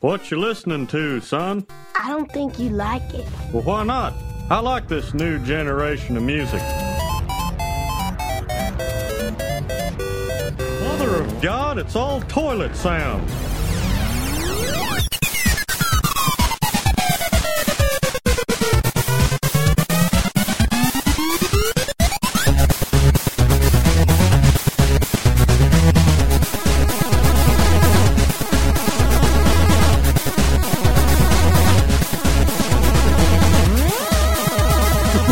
What you listening to, son? I don't think you like it. Well, why not? I like this new generation of music. Mother of God, it's all toilet sounds.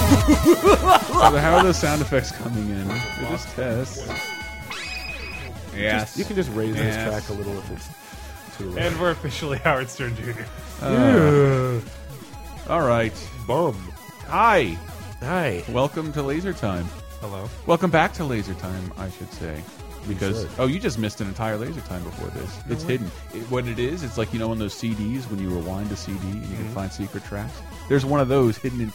So how are those sound effects coming in? They're just tests. Yes. You can just raise this Yes. track a little if it's too low. And we're officially Howard Stern Jr. All right. bum. Hi. Hi. Welcome to Laser Time. Hello. Welcome back to Laser Time, I should say. Because should. oh, you just missed an entire Laser Time before this. It's hidden. It, what it is, it's like you know on those CDs when you rewind a CD and you can find secret tracks. There's one of those hidden in.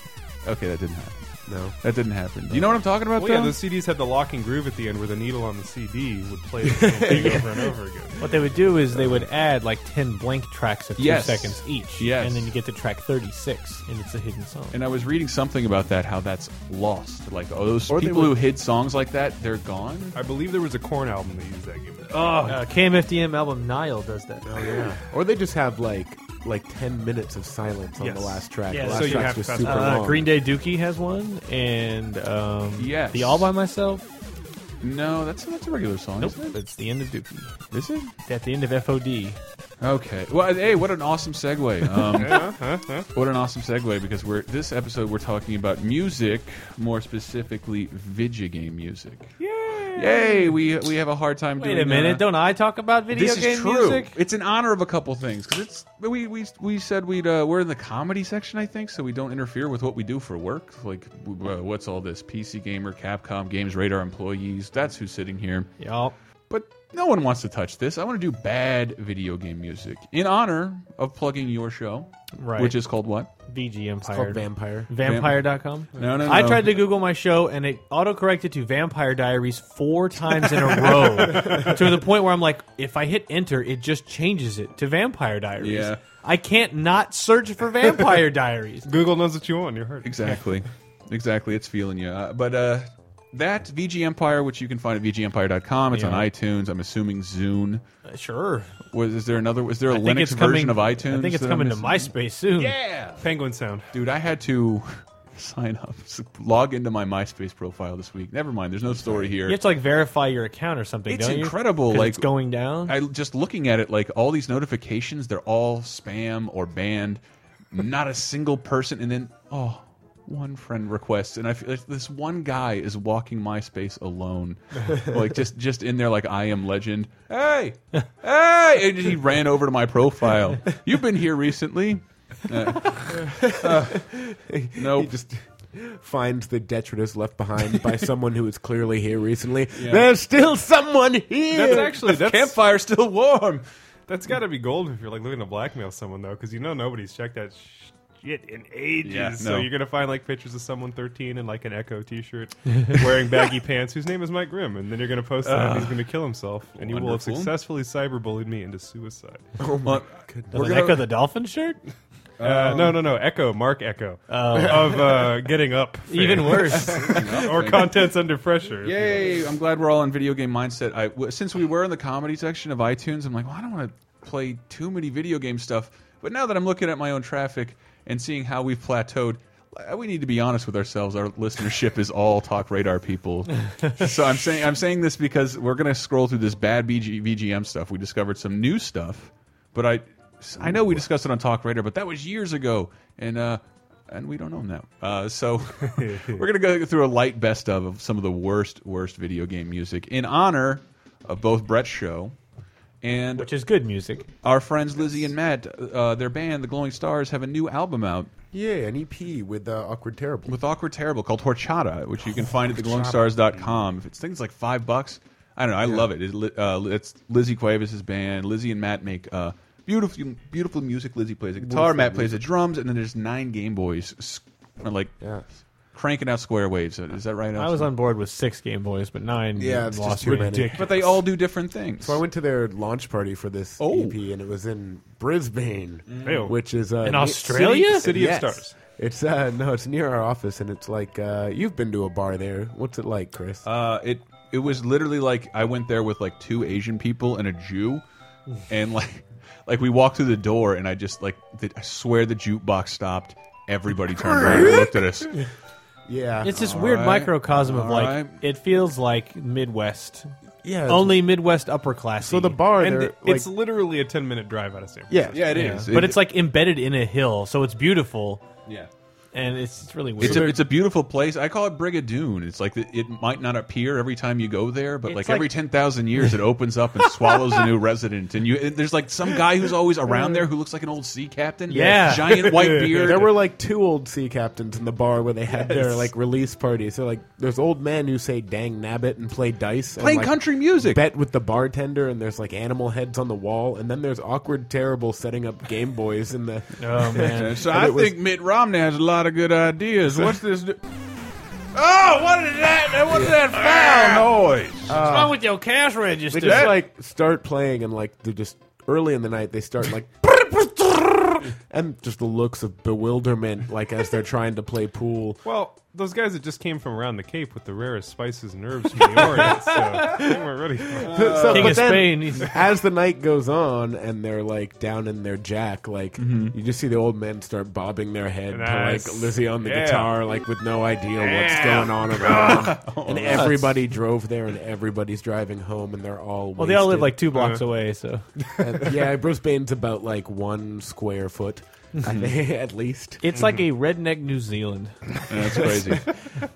Okay, that didn't happen. No. That didn't happen. Do you know what I'm talking about? Well, yeah, though? the CDs had the lock and groove at the end where the needle on the CD would play the same thing over and over again. What they would do is they would add like 10 blank tracks of two Yes. seconds each. Yes. And then you get to track 36, and it's a hidden song. And I was reading something about that, how that's lost. Like, oh, those Or they people would- who hid songs like that, they're gone. I believe there was a Corn album that used that gimmick. uh, oh. KMFDM album Nile does that. Oh yeah. Or they just have like like ten minutes of silence on Yes. the last track. Yeah, the last so you track's have just to- super Uh, long. Green Day Dookie has one, and um, Yes. the All by Myself. No, that's that's a regular song, Nope, isn't it? it's the end of Dookie. Is it? It's at the end of FOD. Okay. Well, hey, what an awesome segue. Um, what an awesome segue because we're this episode we're talking about music, more specifically video game music. Yay! Yay! We we have a hard time Wait doing. a minute, uh, don't I talk about video this game is true. music? It's in honor of a couple things because it's we, we we said we'd uh, we're in the comedy section I think so we don't interfere with what we do for work like w- uh, what's all this PC gamer Capcom Games Radar employees that's who's sitting here Y'all, but no one wants to touch this I want to do bad video game music in honor of plugging your show Right. which is called what VG It's called Empire. Vampire. Vampire.com? No, no, I no. tried to Google my show and it autocorrected to Vampire Diaries four times in a row to the point where I'm like, if I hit enter, it just changes it to Vampire Diaries. Yeah. I can't not search for Vampire Diaries. Google knows what you want. You heard it. exactly exactly it's feeling you uh, but uh that VG Empire, which you can find at VGEmpire.com. It's on Yeah. iTunes. I'm assuming Zune. Uh, sure. Was is there another? Was there a I Linux think it's version coming, of iTunes? I think it's that I'm coming to missing? MySpace soon. Yeah, Penguin Sound. dude, I had to sign up, s- log into my MySpace profile this week. Never mind, there's no story here. You have to like verify your account or something. It's don't you? incredible, 'Cause like- it's going down. I just looking at it, like all these notifications, they're all spam or banned. Not a single person, and then oh, one friend requests, and I feel like this one guy is walking MySpace alone, like just just in there, like I am legend. Hey, hey, and he ran over to my profile. You've been here recently. Uh, uh, He nope. just finds the detritus left behind by someone who was clearly here recently. Yeah. There's still someone here. That's actually that's campfire still warm. that's got to be gold if you're like looking to blackmail someone though, because you know nobody's checked that shit in ages. Yeah, So no. you're gonna find like pictures of someone 13 in like an Echo T-shirt, wearing baggy pants, whose name is Mike Grimm, and then you're gonna post that and he's gonna kill himself, and you will have Ah. Wonderful. successfully cyberbullied me into suicide. Oh my Does it echo the dolphin shirt? Uh, no, no, no. Echo, Mark Echo of uh, getting up, fame. Even worse. or contents under pressure. if you like. Yay! I'm glad we're all in video game mindset. I w since we were in the comedy section of iTunes, I'm like, well, I don't want to play too many video game stuff. But now that I'm looking at my own traffic and seeing how we've plateaued, uh, we need to be honest with ourselves. Our listenership is all Talk Radar people. so I'm saying I'm saying this because we're gonna scroll through this bad BG, VGM stuff. We discovered some new stuff, but I I know we discussed it on Talk Radar, but that was years ago, and uh, and we don't own that. Uh, so we're gonna go through a light best of of some of the worst, worst video game music in honor of both Brett's show and Which is good music. our friends Lizzie and Matt. Uh, their band, the Glowing Stars, have a new album out yeah, an EP with uh, Awkward Terrible. with Awkward Terrible called Horchata, which you can find at theglowingstars.com. If it's things like five bucks, I don't know. I love it. It's, li- uh, it's Lizzie Cuevas' band. Lizzie and Matt make uh, beautiful, beautiful music. Lizzie plays the guitar. Matt plays the drums, and then there's nine Game Boys, s- like Yeah. cranking out square waves. Is that right? I was on board with six Game Boys, but nine Yeah, it's lost just too me. many. but they all do different things. So I went to their launch party for this Oh. EP, and it was in Brisbane, Ew. which is uh, In ne- Australia? city- City of yes. stars. It's uh, no, it's near our office, and it's like uh, you've been to a bar there. What's it like, Chris? Uh, it it was literally like I went there with like two Asian people and a Jew, and like like we walked through the door and I just like the, I swear the jukebox stopped. Everybody turned around and looked at us. yeah, It's this All weird right. microcosm of All like right. it feels like Midwest, yeah, it's- only Midwest upper class. So the bar and there, it- it's like, literally a 10 minute drive out of San Francisco. yeah, Yeah, it is. but it's like embedded in a hill, so it's beautiful yeah. and it's, it's really weird. It's a, it's a beautiful place. I call it Brigadoon. It's like the, it might not appear every time you go there, but It's like, like- every ten thousand years, it opens up and swallows a new resident. And you, and there's like some guy who's always around there who looks like an old sea captain. Yeah. giant white beard. There were like two old sea captains in the bar where they had their like release parties. So like, there's old men who say "dang nabbit" and play dice, and, playing like, country music. Bet with the bartender, and there's like animal heads on the wall, and then there's awkward, terrible setting up Game Boys in the. oh man, So And I it was- think Mitt Romney has a lot of good ideas. What's this? Do- oh, what is that? What's that foul noise? what's wrong with your cash register? They just like start playing and like they're just early in the night they start like and just the looks of bewilderment like as they're trying to play pool. Well, those guys that just came from around the Cape with the rarest spices and herbs from the Orient, so they weren't ready for it. So- King but of then, Spain. he's- As the night goes on and they're like down in their jack, like Mm-hmm. you just see the old men start bobbing their head Nice. to like Lizzie on the Yeah. guitar, like with no idea what's Yeah. going on around. them. Oh, and everybody drove there and everybody's driving home and they're all well, they all live wasted. like two blocks away, so And- yeah, Brisbane's about like one square foot, I think, at least. it's like a redneck New Zealand. That's crazy.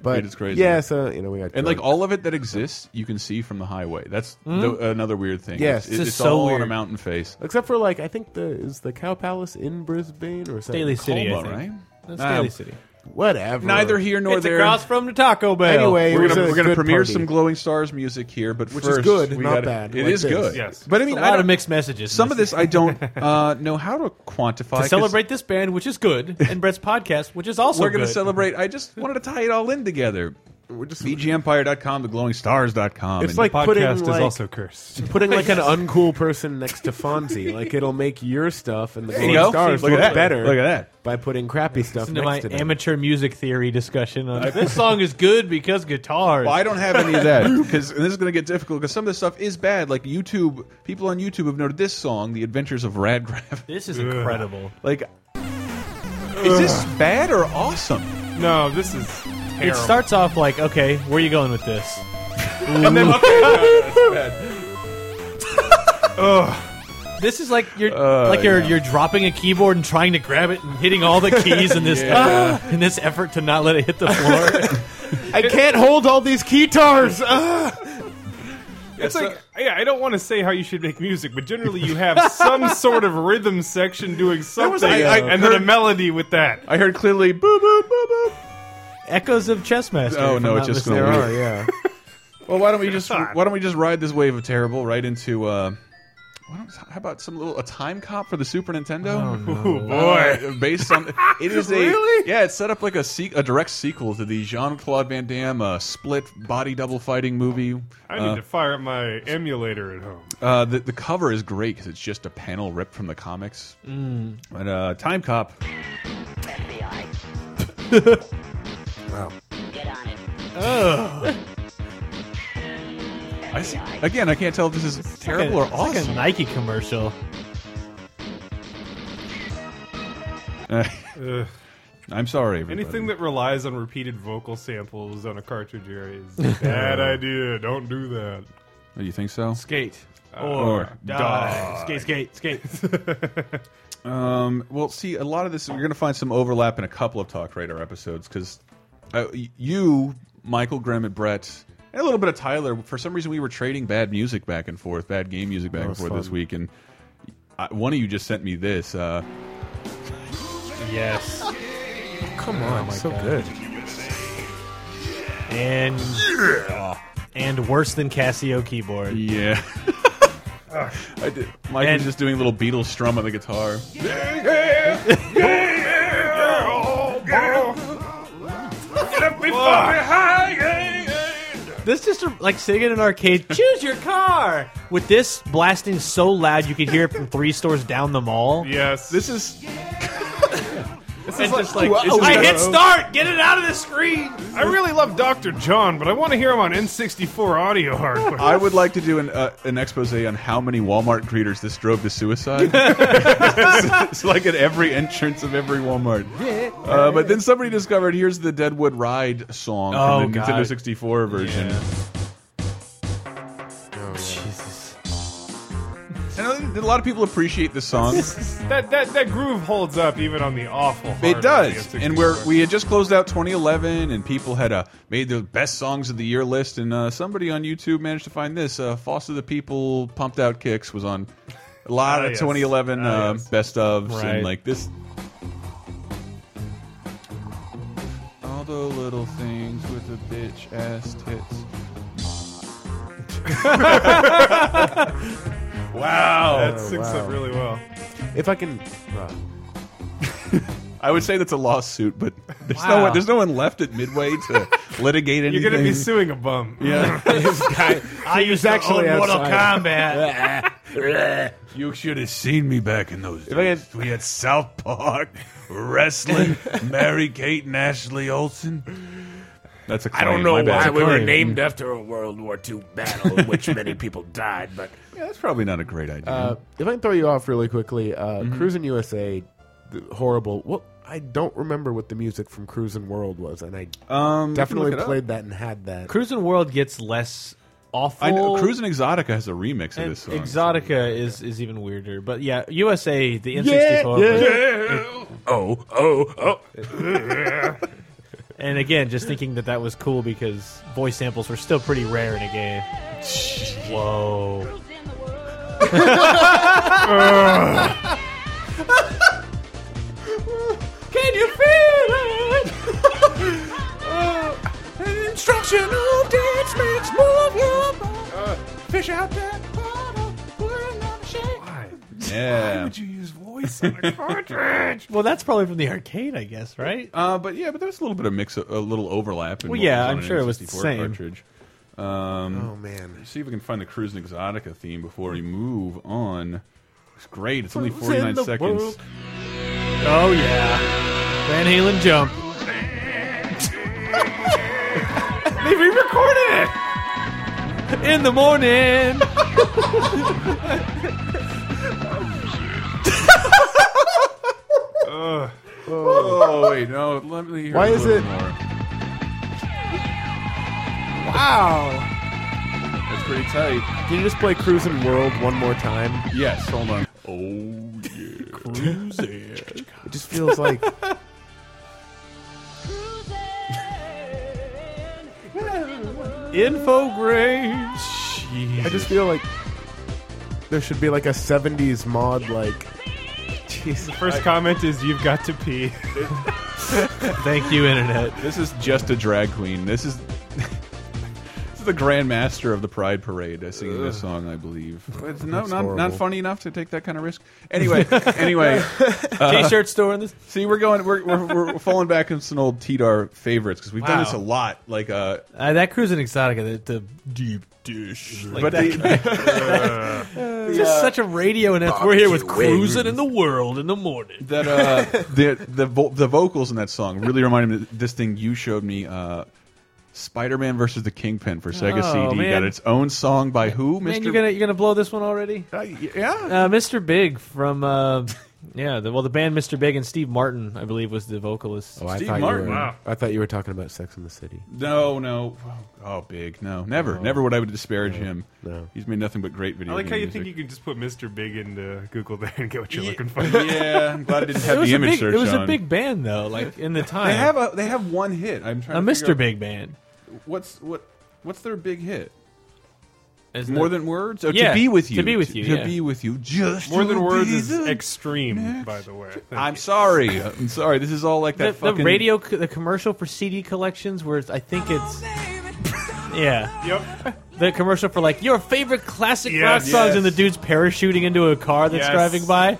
But It is crazy. Yeah, so you know we got And like drunk. all of it that exists, you can see from the highway. That's the, another weird thing. Yes. it's, This is it's so all on a weird. mountain face. except for like I think the is the Cow Palace in Brisbane or is that Daly City, I Colma, think. right? That's Nah, Daly City. Whatever. Neither here nor It's there. across from the Taco Bell. Anyway, it we're was gonna, a we're gonna good premiere party. some glowing stars music here, but Which is first good, we not gotta- bad, It is like this. good. Yes. but I mean, a I lot of don't- mixed messages. Some of this I don't uh, know how to quantify. to 'cause celebrate this band, which is good, and Brett's podcast, which is also we're gonna good. celebrate. I just wanted to tie it all in together. We're just VGEmpire.com, theglowingstars.com. It's and- like Podcast putting is like, also cursed. putting like an uncool person next to Fonzie. like it'll make your stuff and the There you go. Golden Stars Look look at that. better. Look at that. By putting crappy stuff Listen to next my to them. amateur music theory discussion on this song is good because guitars. Well, I don't have any of that because this is going to get difficult because some of this stuff is bad. Like YouTube, people on YouTube have noted this song, "The Adventures of Radgraf." This is incredible. Like, is this bad or awesome? No, this is terrible. It starts off like, okay, where are you going with this? and then, This is like you're like you're you're dropping a keyboard and trying to grab it and hitting all the keys in this in this effort to not let it hit the floor. I can't hold all these guitars. it's like, yeah, I don't want to say how you should make music, but generally you have some sort of rhythm section doing was- something, I- I and then a heard- melody with that. I heard clearly, boo, boo, boo, boo. Echoes of Chessmaster. Oh, if no, I'm it's not just mistaken. there gonna are, yeah. Well, why don't we just why don't we just ride this wave of terrible right into? Uh, why don't, how about some little a time cop for the Super Nintendo? Oh boy. Uh, based on it is a Really? yeah, it's set up like a se a direct sequel to the Jean Claude Van Damme uh, split body double fighting movie. I need to fire up my emulator at home. Uh, the, the cover is great because it's just a panel ripped from the comics. Mm. But uh, Time Cop, Get on it. I see, again, I can't tell if this is It's like terrible a- or it's like a awesome. Nike commercial. I'm sorry. Everybody. Anything that relies on repeated vocal samples on a cartridge area is a bad idea. Don't do that. Oh, you think so? Skate. Or die. Skate, skate, skate. Um, well, see, a lot of this we're going to find some overlap in a couple of Talk Radar episodes because you, Michael, Graham, and Brett, and a little bit of Tyler. For some reason, we were trading bad music back and forth, bad game music back and was forth this fun. week, and I, one of you just sent me this. Uh, yes. Come on, so good. And oh, and worse than Casio keyboard. yeah. I did. Mike And- was just doing a little Beatles strum on the guitar. oh, Get up This just like sitting in an arcade. Choose your car. With this blasting so loud, you could hear it from three stores down the mall. Yes. This is this is just like this is I hit gotta- "Oh, start. Get it out of the screen. I really love Dr. John, but I want to hear him on N64 audio hardware. I would like to do an uh, an expose on how many Walmart greeters this drove to suicide. it's like at every entrance of every Walmart. Uh, but then somebody discovered here's the Deadwood Ride song Oh, from the God. Nintendo 64 version. Jesus. And I think a lot of people appreciate the song. that, that that groove holds up even on the awful. hard It does, of the and we're N64. we had just closed out 2011, and people had uh, made their best songs of the year list, and uh, somebody on YouTube managed to find this. Uh, Foster the People, Pumped Out Kicks was on a lot Ah, of yes. 2011 Ah, uh, yes. best ofs, Right. and like this. All the little things with the bitch ass tits. wow, that syncs up really well. If I can, uh, I would say that's a lawsuit, but there's no Wow. one. There's no one left at Midway to litigate anything. You're gonna be suing a bum. Yeah. I used actually outside. Kombat. You should have seen me back in those I days. We had South Park, wrestling, Mary Kate and Ashley Olsen. That's a claim. I don't know my bad. why we were Claim. named after a World War II battle in which many people died, but Yeah, that's probably not a great idea. uh, if I can throw you off really quickly, uh, Mm-hmm. Cruising USA, the, horrible. Well, I don't remember what the music from Cruising World was, and I Uh, um, you can definitely look it up. played that and had that. Cruisin' World gets less awful. I know Cruising Exotica has a remix of And this song. Exotica is, is even weirder, but yeah, USA the N64 yeah. version. oh, oh, oh. and again, just thinking that that was cool because voice samples were still pretty rare in a game. Whoa! Can you feel it? Instructional dance makes move your Fish out there. Why? Why Yeah. would you use voice on a cartridge? Well, that's probably from the arcade, I guess, right? Uh, but yeah, but there's a little bit of mix, a little overlap. In Well, what yeah, was on I'm an sure it was the N64 same. Cartridge. Um, Oh man. See if we can find the Cruising Exotica theme before we move on. It's great. It's only Who's 49 in the seconds. world? Oh yeah, Van Halen jump. they re-recorded it in the morning. Oh wait, no. Let me hear. Why a is little it- More. Wow. That's pretty tight. Can you just play Cruising World one more time? Yes. Hold on. Oh yeah. Cruising. It just feels like Infogrames. I just feel like there should be like a '70s mod like. the first comment is you've got to pee. Thank you, internet. This is just a drag queen. This is. this is The Grand Master of the Pride Parade uh, singing this song, I believe. But it's no, not, not horrible. funny enough to take that kind of risk. Anyway, anyway, Uh-huh. T-shirt store in this. see, we're going, we're, we're, we're falling back into some old TDR favorites because we've done Wow. this a lot. Like, uh, Uh, that cruising exotica, the, the deep dish. Like but that, the, it's just such a radio, and it's, we're here with Barbecue wings. cruising in the world in the morning. that uh, the the vo the vocals in that song really reminded me of this thing you showed me. Uh, Spider-Man versus the Kingpin for Sega Oh, CD got man. its own song by who? Man, Mr. you're gonna you're gonna blow this one already? Uh, y- yeah. Uh, Mr. Big from uh, yeah, the, well, the band Mr. Big and Steve Martin, I believe, was the vocalist. Oh, I Steve thought Martin. You were, Wow. I thought you were talking about Sex in the City. No, no. Oh, big. No, never, never would I would disparage him. no. He's made nothing but great I video. like how you game think you music. can just put Mr. Big into Google there and get what you're looking for. Yeah, I'm glad I didn't It have was, the a image big, search it was on. a big band though, like in the time. They have a they have one hit. I'm a trying to figure Mr. out Big band. What's what what's their big hit? Is More that- than words. Oh, to Yeah, be with you. To Be With You, To yeah. be with you. Just More than to words be is the- extreme, by the way. I'm sorry. I'm sorry. This is all like the, that the fucking radio, co- the commercial for CD collections, where it's, I think it's yeah. Yep. The commercial for like your favorite classic Yes. rock songs Yes. and the dude's parachuting into a car that's Yes. driving by.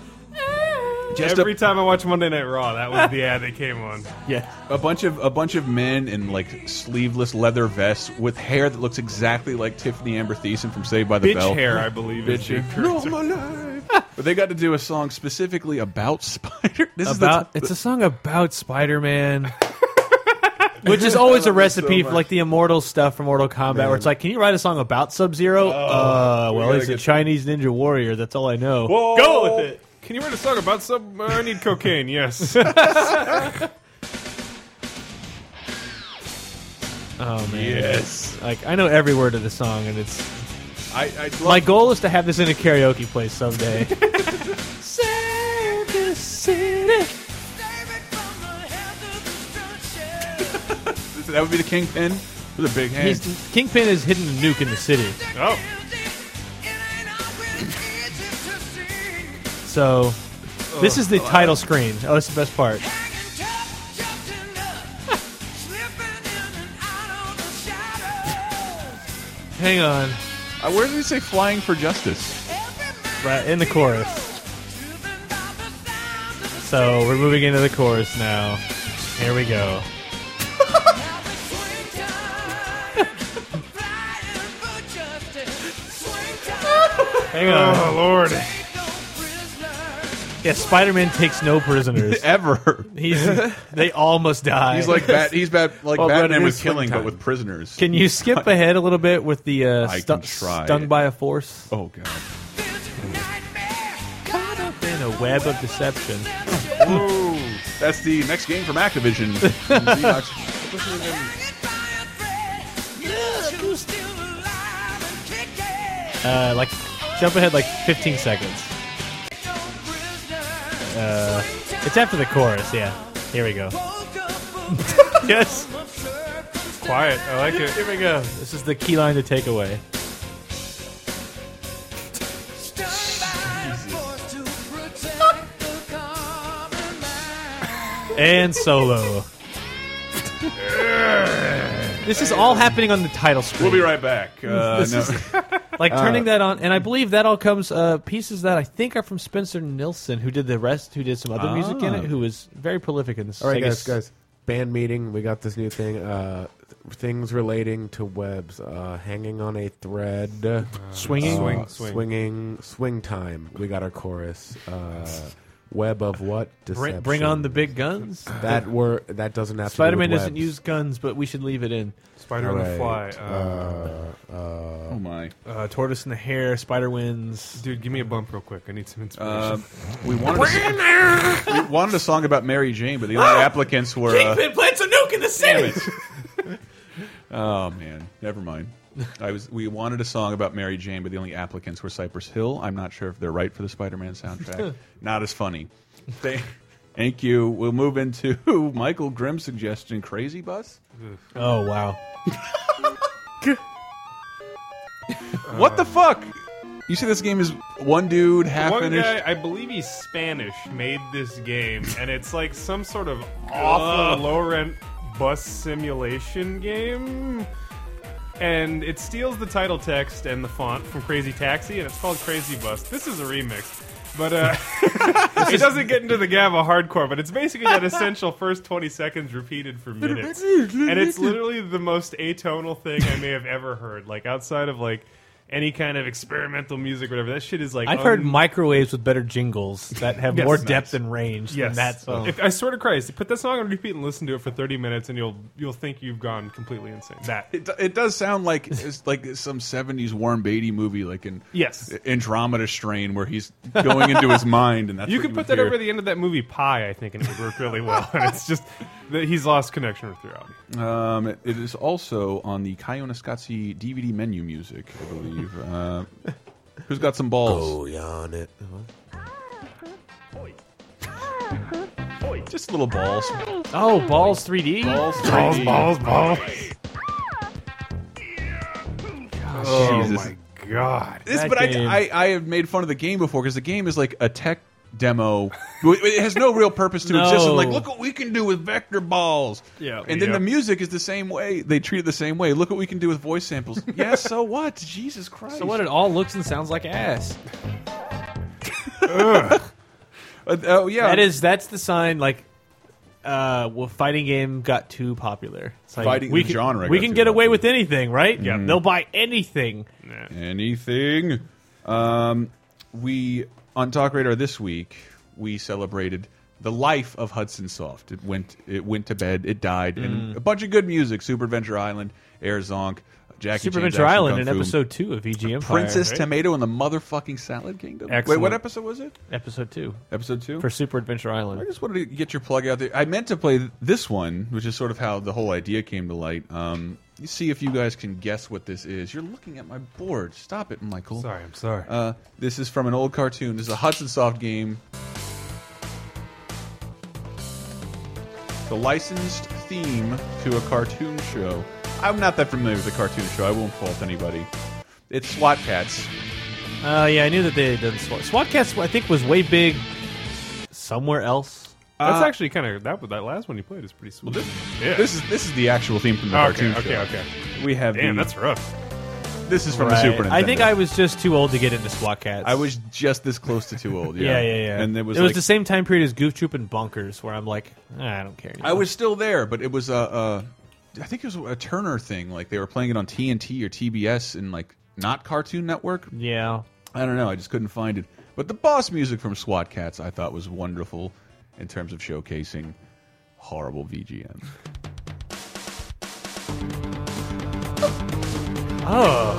Just Every a, time I watch Monday Night Raw, that was the ad they came on. Yeah. a bunch of a bunch of men in like sleeveless leather vests with hair that looks exactly like Tiffany Amber Thiessen from Saved by the Bitch Bell. hair, I believe. is the Bitch hair. current- But they got to do a song specifically about spider. This is the about t- it's a song about Spider-Man. Which is always a recipe for like the immortal stuff from Mortal Kombat, where it's like, can you write a song about Sub Zero? uh, well, Oh, gotta he's a get- Chinese ninja warrior. That's all I know. Whoa. Go with it. Can you write a song about some? I need cocaine. Yes. Oh man, yes. like I know every word of the song, and it's I, I love my goal is to have this in a karaoke place someday. that would be the kingpin with a big hand. He's, Kingpin is hidden nuke in the city, Oh. so Oh, this is the title screen. Oh, that's the best part. Hang on, Uh, where did he say flying for justice? right in the chorus. So we're moving into the chorus now. Here we go. Hang on. Oh Lord. Yeah, Spider-Man takes no prisoners. Ever. He's they all must die. He's like bat, he's bat, like Well, but Batman it with is swing killing, time. but with prisoners. Can you skip ahead a little bit with the uh, I stu- can try stung it. by a force? oh god. In a web of deception. That's the next game from Activision. Xbox. Uh, like jump ahead like 15 seconds. Uh, it's after the chorus. Yeah. Here we go. yes. Quiet. I like it. Here we go. This is the key line to take away. And solo. this is all happening on the title screen. We'll be right back. Uh, no. like turning that on, and I believe that all comes uh, pieces that I think are from Spencer Nilsson, who did the rest, who did some other music in Ah. it, who was very prolific in this. All right, Sega guys, guys. Band meeting. We got this new thing. Uh, things relating to webs. Uh, hanging on a thread. swinging. Uh, swing. swinging. Swing time. We got our chorus. Uh, web of what? Bring, Deception. bring on the big guns. That were that doesn't have. to do with Spider-Man doesn't webs. use guns, but we should leave it in. Spider on the fly. Right. Uh, Uh, uh, oh my. Uh, tortoise in the hair. Spider wins. dude, give me a bump real quick. I need some inspiration. Um, we wanted a, we wanted a song about Mary Jane, but the Ah! only applicants were. Uh, plants a nuke in the damn it. oh man, never mind. I was. We wanted a song about Mary Jane, but the only applicants were Cypress Hill. I'm not sure if they're right for the Spider-Man soundtrack. not as funny. Thank, thank you. We'll move into Michael Grimm's suggestion, Crazy Bus. Oh wow. what the fuck? You say this game is one dude half Um, One finished. guy, I believe he's Spanish, made this game, and it's like some sort of awful low rent bus simulation game. And it steals the title text and the font from Crazy Taxi, and it's called Crazy Bus. This is a remix. But uh, it doesn't get into the gamma hardcore, but it's basically that essential first 20 seconds repeated for minutes. And it's literally the most atonal thing I may have ever heard. Like, outside of like any kind of experimental music, whatever, that shit is like. I've heard un- microwaves with better jingles that have Yes, more nice. depth and range than that song. If, I swear to Christ, put that song on repeat and listen to it for 30 minutes, and you'll you'll think you've gone completely insane. That It, it does sound like it's like some '70s Warren Beatty movie, like in Yes. Andromeda Strain, where he's going into his mind, and that's you what could would put that hear. over the end of that movie Pie, I think, and it would work really well. And it's just that he's lost connection with reality. Um, it is also on the Kyonoskatsi DVD menu music, I believe. uh, who's got some balls? oh, yawn it. Just little balls. oh, balls 3D. Balls. Balls, 3D. balls, balls. Oh Jesus. my god! This, That but game. I, I, I have made fun of the game before because the game is like a tech demo. it has no real purpose to No. exist. I'm like, look what we can do with vector balls. Yeah. And then Yeah. the music is the same way. They treat it the same way. Look what we can do with voice samples. yeah, so what? Jesus Christ. So what? It all looks and sounds like ass. Uh, oh yeah, That is that's the sign like uh well fighting game got too popular. It's like Fighting- we the can, genre We got can too get away popular. with anything, right? Yeah. They'll buy anything. anything. Um, we on Talk Radar this week we celebrated the life of Hudson Soft. It went it went to bed. It died, Mm. and a bunch of good music: Super Adventure Island, Air Zonk, Jackie Super Chan's Adventure Action Island Kung in Fu, episode two of VG Empire. Princess right? Tomato and the motherfucking Salad Kingdom. Wait, what Excellent. episode was it? episode two Episode two for Super Adventure I Island. just wanted to get your plug out there. I meant to play th- this one, which is sort of how the whole idea came to light. Um, you see if you guys can guess what this is. You're looking at my board. Stop it, Michael. Sorry, I'm sorry. Uh, this is from an old cartoon. This is a Hudson Soft game. The licensed theme to a cartoon show. I'm not that familiar with the cartoon show. I won't fault anybody. It's SWAT Cats. Uh, yeah, I knew that they had done SWAT. SWATcast I think was way big somewhere else. That's uh, actually kind of that. That last one you played is pretty sweet. This, yeah. this is this is the actual theme from the okay, cartoon okay, show. okay. We have Damn, the- that's rough. This is from the Right. Super Nintendo. I think I was just too old to get into SWATcast. I was just this close to too old. Yeah, Yeah, yeah, yeah. And there was it was like- the same time period as Goof Troop and Bunkers, where I'm like, "Ah, I don't care. I was still there, but it was a, a I think it was a Turner thing. Like they were playing it on TNT or TBS and like not Cartoon Network. yeah. I don't know. I just couldn't find it. But the boss music from SWAT Cats I thought was wonderful in terms of showcasing horrible VGM. Oh.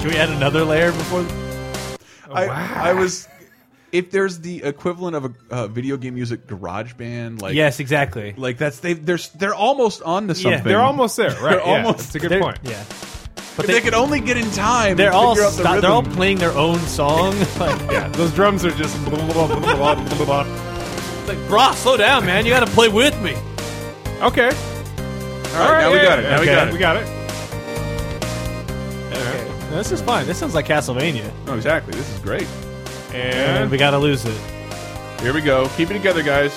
Can we add another layer before? I, I was. If there's the equivalent of a uh, video game music garage band, like yes, exactly. like that's they they're they're almost on to something. They're almost there, right? They're yeah, almost That's a good They're- point. Yeah, If they, could only get in time. they're to all figure out the sto- they're all rhythm. playing their own song. like, Yeah, those drums are just. blah, blah, blah, blah, blah, blah, blah. like, brah, slow down, man. You got to play with me. Okay. All right, now we got it. Now we got it. We got it. This is fine. This sounds like Castlevania, No, exactly. This is great. Uh-huh. and And we got to lose it. Here we go. Keep it together, guys.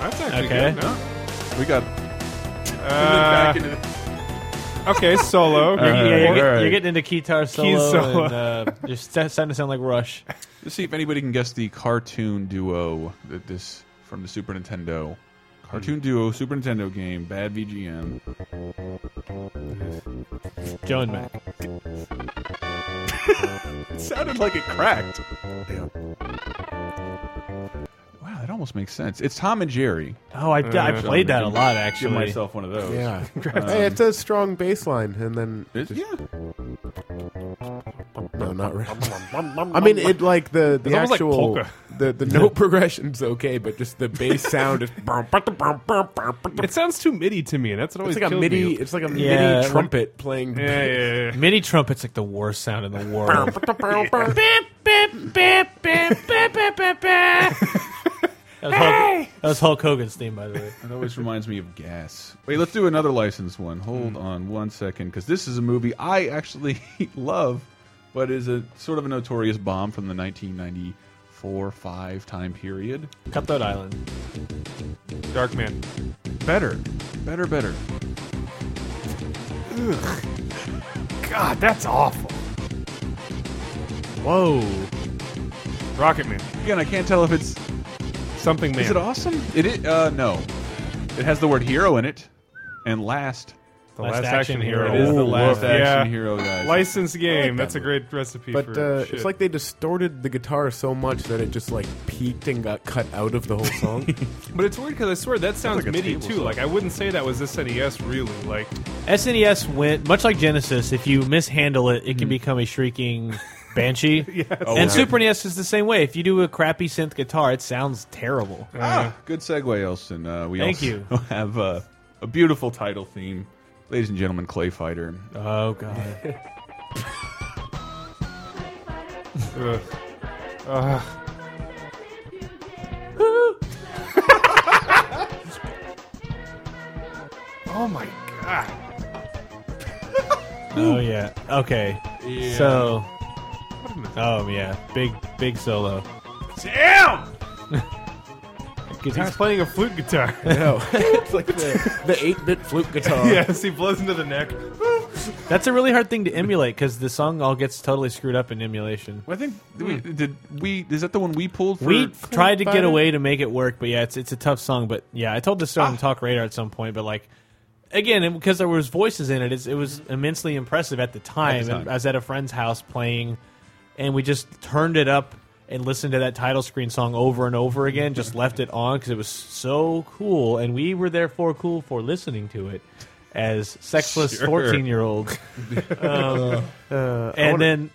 that's actually Okay. good. No? We got Uh, back into the okay, solo. right. yeah, you're, get- Alright. you're getting into guitar solo, solo. and uh, you're st- starting to sound like Rush. Let's see if anybody can guess the cartoon duo that this from the Super Nintendo. Hmm. Cartoon duo, Super Nintendo game, bad VGM. Joe and Mac. It sounded like it cracked. Wow, that almost makes sense. It's Tom and Jerry. Oh, I, I played that a lot actually. Give Uh, myself one of those. Yeah. hey, it's a strong bass line, and then It's- just- Um, yeah. no, not really. I mean, it like the the almost like actual polka. the the note progression's okay, but just the bass sound is. It sounds too MIDI to me, and that's what always It's like a killed MIDI. Me. It's like a Yeah, MIDI when- trumpet playing. Yeah, yeah, yeah. Mini trumpet's like the worst sound in the world. That was, Hulk, that was Hulk Hogan's theme, by the way. It always reminds me of gas. Wait, let's do another licensed one. Hold on one second, because this is a movie I actually love, but is a sort of a notorious bomb from the 1994-5 time period. Cutthroat Island. Dark Man. Better, better, better. God, that's awful. Whoa. Rocket Man. Again, I can't tell if it's Something Man. is it awesome. It is. Uh, no, it has the word hero in it, and last The Last Last, Action Action, Hero. Hero. it is the Ooh, last woof. action Yeah. hero guys. License game. that's a great recipe But for uh, shit. it's like they distorted the guitar so much that it just like peaked and got cut out of the whole song. But it's weird because I swear that sounds like a MIDI table too. saw. Like I wouldn't say that was SNES really. Like SNES E went, much like Genesis, if you mishandle it, it can become a shrieking banshee. and Super NES is the same way. If you do a crappy synth guitar, it sounds terrible. Ah, good segue, Elson. Uh, we Thank also you. have uh, a beautiful title theme, ladies and gentlemen. Clay Fighter. Oh, God. ugh. oh my god, oh, yeah. Okay. So. Oh, yeah. Big, big solo. damn! Guitar He's playing a flute guitar. no, it's like the the eight bit flute guitar. yes, he blows into the neck. That's a really hard thing to emulate because the song all gets totally screwed up in emulation. I think did we, did we is that the one we pulled? For, We tried to about get it? away to make it work, but yeah, it's it's a tough song. But yeah, I told this story on Talk Radar at some point, but like again, and because there was voices in it, it's, it was immensely impressive at the time. At the time. And I was at a friend's house playing, and we just turned it up and listened to that title screen song over and over again. Just left it on because it was so cool, and we were therefore cool for listening to it as sexless Sure. fourteen year olds. Um, uh, and then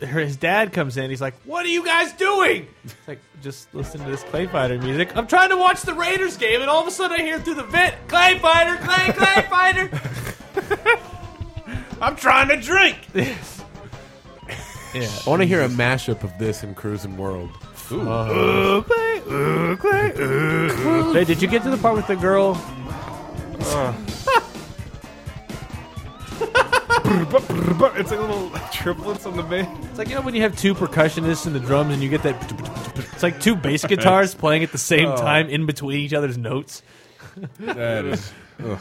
her, his dad comes in. He's like, "What are you guys doing?" It's like, "Just listen to this Clay Fighter music." I'm trying to watch the Raiders game, and all of a sudden I hear through the vent, "Clay Fighter, Clay, Clay Fighter." I'm trying to drink. yeah. I want to hear a mashup of this in Cruising World. Hey, did you get to the part with the girl? It's like little triplets on the band. It's like you know when you have two percussionists and the drums, and you get that. It's like two bass guitars playing at the same time in between each other's notes. That is, ugh,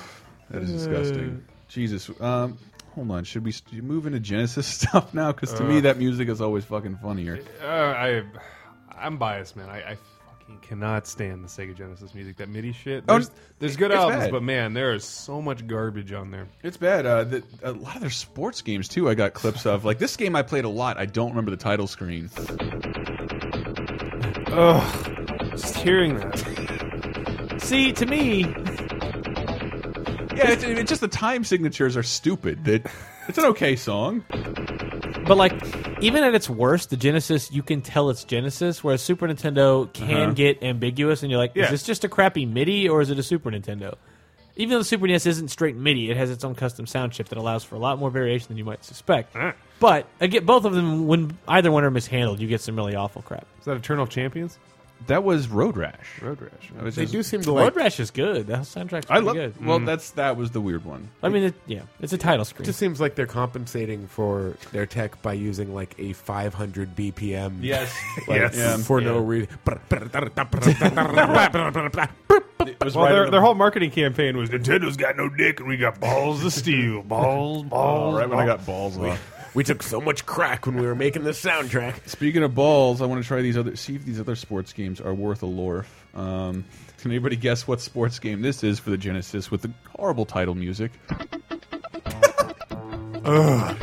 that is disgusting. Jesus. Um, hold on. Should we should we move into Genesis stuff now? Because to me, that music is always fucking funnier. Uh, I, I'm biased, man. I, I fucking cannot stand the Sega Genesis music. That MIDI shit. There's, there's good Oh, it's albums, bad. but man, there is so much garbage on there. It's bad. Uh, the, a lot of their sports games too. I got clips of like this game I played a lot. I don't remember the title screen. Ugh. Just hearing that. See, to me, Yeah, it's, it's just the time signatures are stupid. That it's an okay song. But like, even at its worst, the Genesis you can tell it's Genesis, whereas Super Nintendo can get ambiguous, and you're like, Yeah. is this just a crappy MIDI or is it a Super Nintendo? Even though the Super NES isn't straight MIDI, it has its own custom sound chip that allows for a lot more variation than you might suspect. But again, both of them, when either one are mishandled, you get some really awful crap. Is that Eternal Champions? That was Road Rash. Road Rash. That was They just- do seem to Road like Rash is good. That soundtrack's I pretty love. good. Well, that's that was the weird one. I mean, it, yeah, it's a title screen. It just seems like they're compensating for their tech by using like a 500 BPM. Yes. like, Yes. Yeah. For no reason. It was Well, right in their, the- their whole marketing campaign was Nintendo's got no dick and we got balls of steel. Balls, balls. right when I balls." got balls off. we took so much crack when we were making this soundtrack. Speaking of balls, I want to try these other. See if these other sports games are worth a lorf. Um, can anybody guess what sports game this is for the Genesis with the horrible title music? I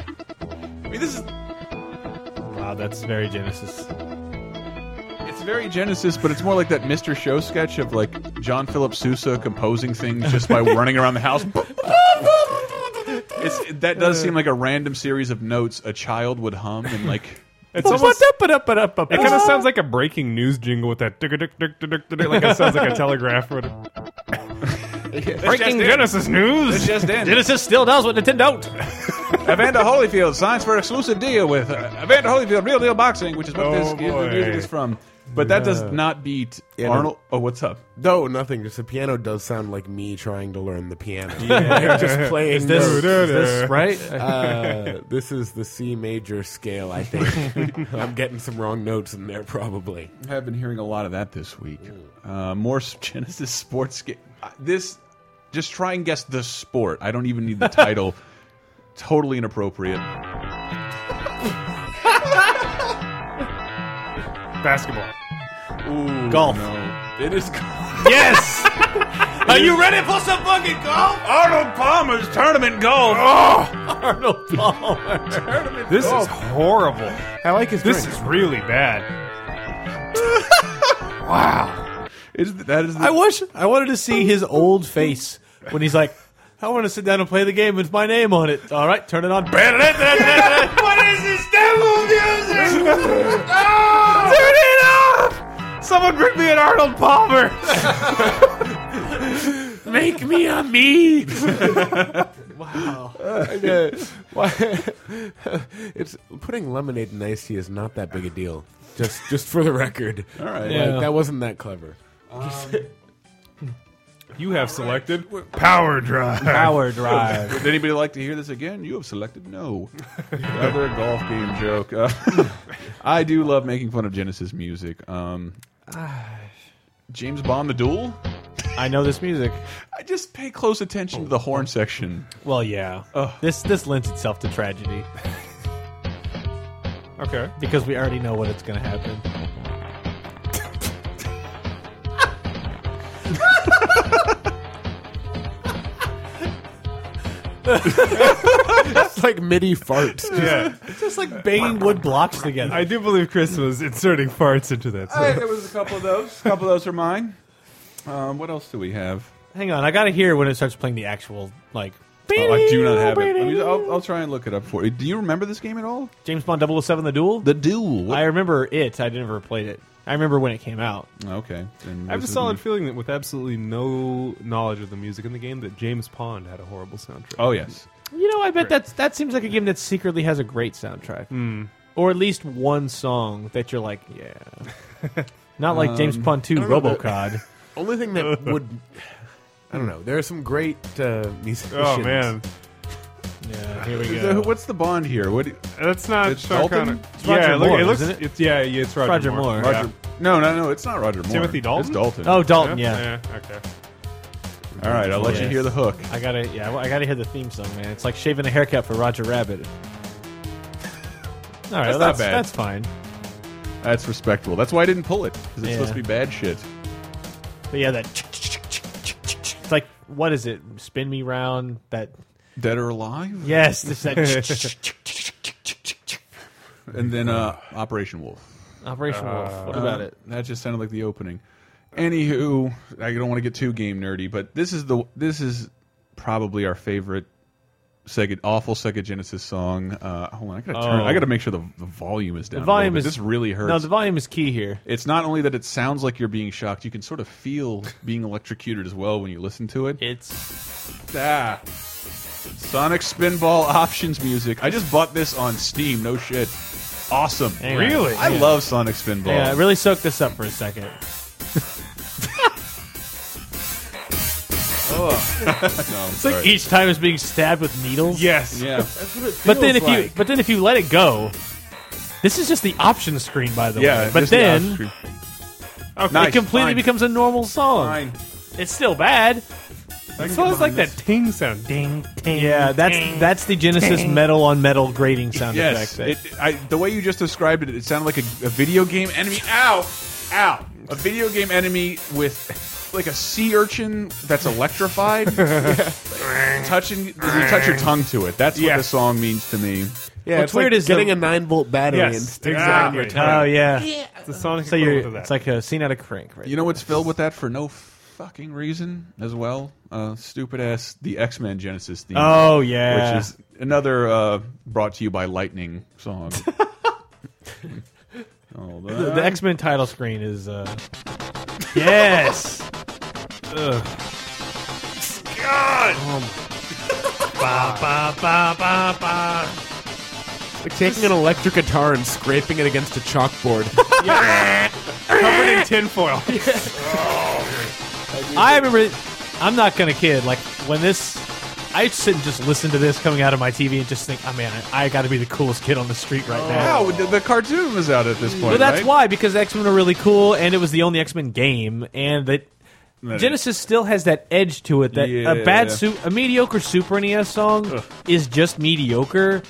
mean, this is wow, Ah, that's very Genesis. it's very Genesis, but it's more like that Mr. Show sketch of like John Philip Sousa composing things just by running around the house. It's, that does seem like a random series of notes a child would hum and like. It's almost, it kind of sounds like a breaking news jingle with that. tick-a-tick, tick-a-tick, tick-a-tick, Like it sounds like a telegraph. or whatever. breaking Genesis news. Just in. Genesis still does what Nintendo don't. Evander Holyfield signs for exclusive deal with uh, Evander Holyfield Real Deal Boxing, which is what Oh, this is- the boy. music is from. But that does not beat Yeah, no. Arnold. Oh, what's up? No, nothing. Just the piano does sound like me trying to learn the piano. Like, just playing Is this, is notes. this right? Uh, this is the C major scale, I think. I'm getting some wrong notes in there, probably. I've been hearing a lot of that this week. Uh, more s- Genesis sports game. This, just try and guess the sport. I don't even need the title. totally inappropriate. Basketball. Golf. No, it is golf. Yes! Are you ready for some fucking golf? Arnold Palmer's tournament golf. Arnold Palmer. This is horrible. I like his This drink. is really bad. Is that is the, I wish I wanted to see his old face when he's like, "I want to sit down and play the game with my name on it." All right, turn it on. what is this devil music? Ah! Turn it off! Someone bring me an Arnold Palmer! Make me a me. Wow. Why? it's putting lemonade in iced tea is not that big a deal. Just, just for the record, all right. Yeah. that wasn't that clever. You have selected Power Drive. Power drive. Would anybody like to hear this again? You have selected no. Another golf game joke. Uh, I do love making fun of Genesis music. Um, James Bond the Duel? I know this music. I just pay close attention to the horn section. Well, yeah. This this lends itself to tragedy Okay. because we already know what it's going to happen. It's like MIDI fart. Yeah. Just like banging wood blocks together. I do believe Chris was inserting farts into that. So. there was a couple of those. A couple of those are mine. Um, what else do we have? Hang on, I gotta hear when it starts playing the actual like. Oh, I do not have it. I oh, mean, I'll, I'll try and look it up for you. Do you remember this game at all? James Bond 007 The Duel. The Duel. I remember it. I never played it. I remember when it came out. okay. then I have a this is- solid feeling that with absolutely no knowledge of the music in the game, that James Pond had a horrible soundtrack. Oh yes. You know, I bet that's that seems like a game that secretly has a great soundtrack, or at least one song that you're like, yeah. Not like James Bond 2 remember RoboCod. Only thing that would. I don't know. There are some great uh, musicians. Oh, man, yeah, here we Is that- what's the bond here? What? that's not It's Sean Dalton? Connery. It's Roger yeah, look, Moore, it looks. isn't it? It's, yeah, yeah, it's Roger, Roger Moore. Moore. Yeah. Roger- No, no, no. It's not Roger Moore. Timothy Dalton? It's Dalton. oh, Dalton. Yeah. Okay. All right. I'll let you Yes. hear the hook. I gotta, yeah, well, I gotta hear the theme song, man. It's like shaving a haircut for Roger Rabbit. All right, That's well, not that's, bad. that's fine. That's respectable. That's why I didn't pull it. 'cause it's Yeah. supposed to be bad shit. But yeah, that. It's like, what is it? Spin me round. That Dead or alive? yes, this that. And then uh, Operation Wolf. Operation Wolf. What about Uh, it? That just sounded like the opening. Anywho, I don't want to get too game nerdy, but this is the this is probably our favorite Sega awful Sega Genesis song. Uh, hold on, I gotta turn. Oh. I gotta make sure the, the volume is down. The a little volume bit. is this really hurts. No, the volume is key here. it's not only that it sounds like you're being shocked, you can sort of feel being electrocuted as well when you listen to it. It's Ah. Sonic Spinball options music. I just bought this on Steam. No shit. Awesome. Hang on. Really? I Yeah. love Sonic Spinball. yeah. Really soak this up for a second. No, It's like each time it's being stabbed with needles. Yes. yeah. but then if you but then if you let it go, this is just the option screen, by the way. But just the then option. it Nice, completely fine, becomes a normal song. fine. It's still bad. It's always like that ting sound. Ding, ding. Yeah, that's that's the Genesis metal on metal grating sound Yes, effect. it, I, the way you just described it, it sounded like a, a video game enemy. Ow, ow! A video game enemy with like a sea urchin that's electrified. Touching, you touch your tongue to it. That's Yeah. what the song means to me. Yeah, What's it's like weird is getting the- a nine volt battery Yes, and sticking it in exactly. your tongue. oh yeah. It's the sonic So equivalent of you're that. it's like a scene out of crank, right? You know what's filled with that for no fucking reason as well? Uh, stupid ass the X Men Genesis theme. oh yeah. which is another uh, brought to you by lightning song. Hold on. the X Men title screen is uh Yes. Oh Like taking an electric guitar and scraping it against a chalkboard. covered in tinfoil. Oh. I remember I'm not gonna kid, like when this I used to sit and just listen to this coming out of my TV and just think, oh man, I, I gotta be the coolest kid on the street right now. Wow, the, the cartoon was out at this point. But that's right? why, because X Men are really cool, and it was the only X Men game, and that No. Genesis still has that edge to it. That a bad, Yeah. su- a mediocre Super NES song is just mediocre.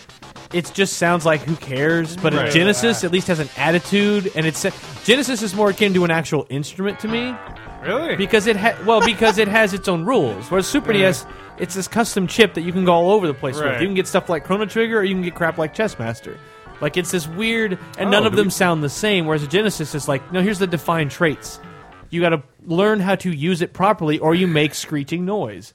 It just sounds like who cares. But a Right. Genesis at least has an attitude, and it's Genesis is more akin to an actual instrument to me really? because it ha- well because it has its own rules. Whereas Super NES, it's this custom chip that you can go all over the place with. Right. You can get stuff like Chrono Trigger, or you can get crap like Chess Master. Like it's this weird, and none Oh, of do them we- sound the same. Whereas a Genesis is like, no, here's the defined traits. You got to learn how to use it properly, or you make screeching noise.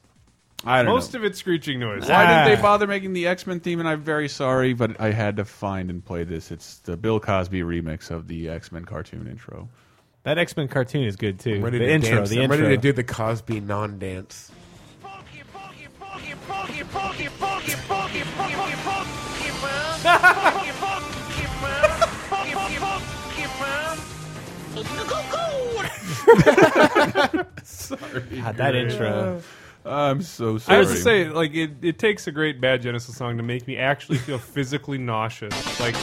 I don't Most know. of it's screeching noise. why didn't Ah. they bother making the X Men theme? And I'm very sorry, but I had to find and play this. It's the Bill Cosby remix of the X Men cartoon intro. That X Men cartoon is good too. ready the to intro, dance. the I'm intro. ready to do the Cosby non-dance. God, that intro. I'm so sorry. I was to say, like, it, it takes a great bad Genesis song to make me actually feel physically nauseous. Like,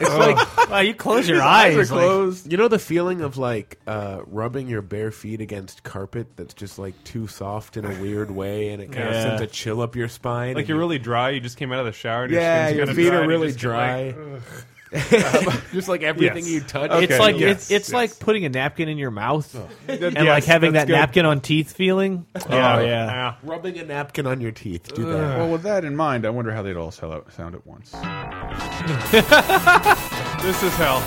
It's like Wow, you close your eyes eyes. are like- closed. Oh. you know the feeling of like uh, rubbing your bare feet against carpet that's just like too soft in a weird way, and it kind of Yeah. sends a chill up your spine. Like and you're you- really dry. You just came out of the shower. And yeah, your your, skin's kinda feet dry, are and you really just get, like, dry. just like everything Yes. you touch. It's like yes, it's, it's yes. like putting a napkin in your mouth and yes, like having that's that good. napkin on teeth feeling. yeah, Oh, yeah. rubbing a napkin on your teeth. Do that. Well, with that in mind, I wonder how they'd all sell out, sound at once. This is hell.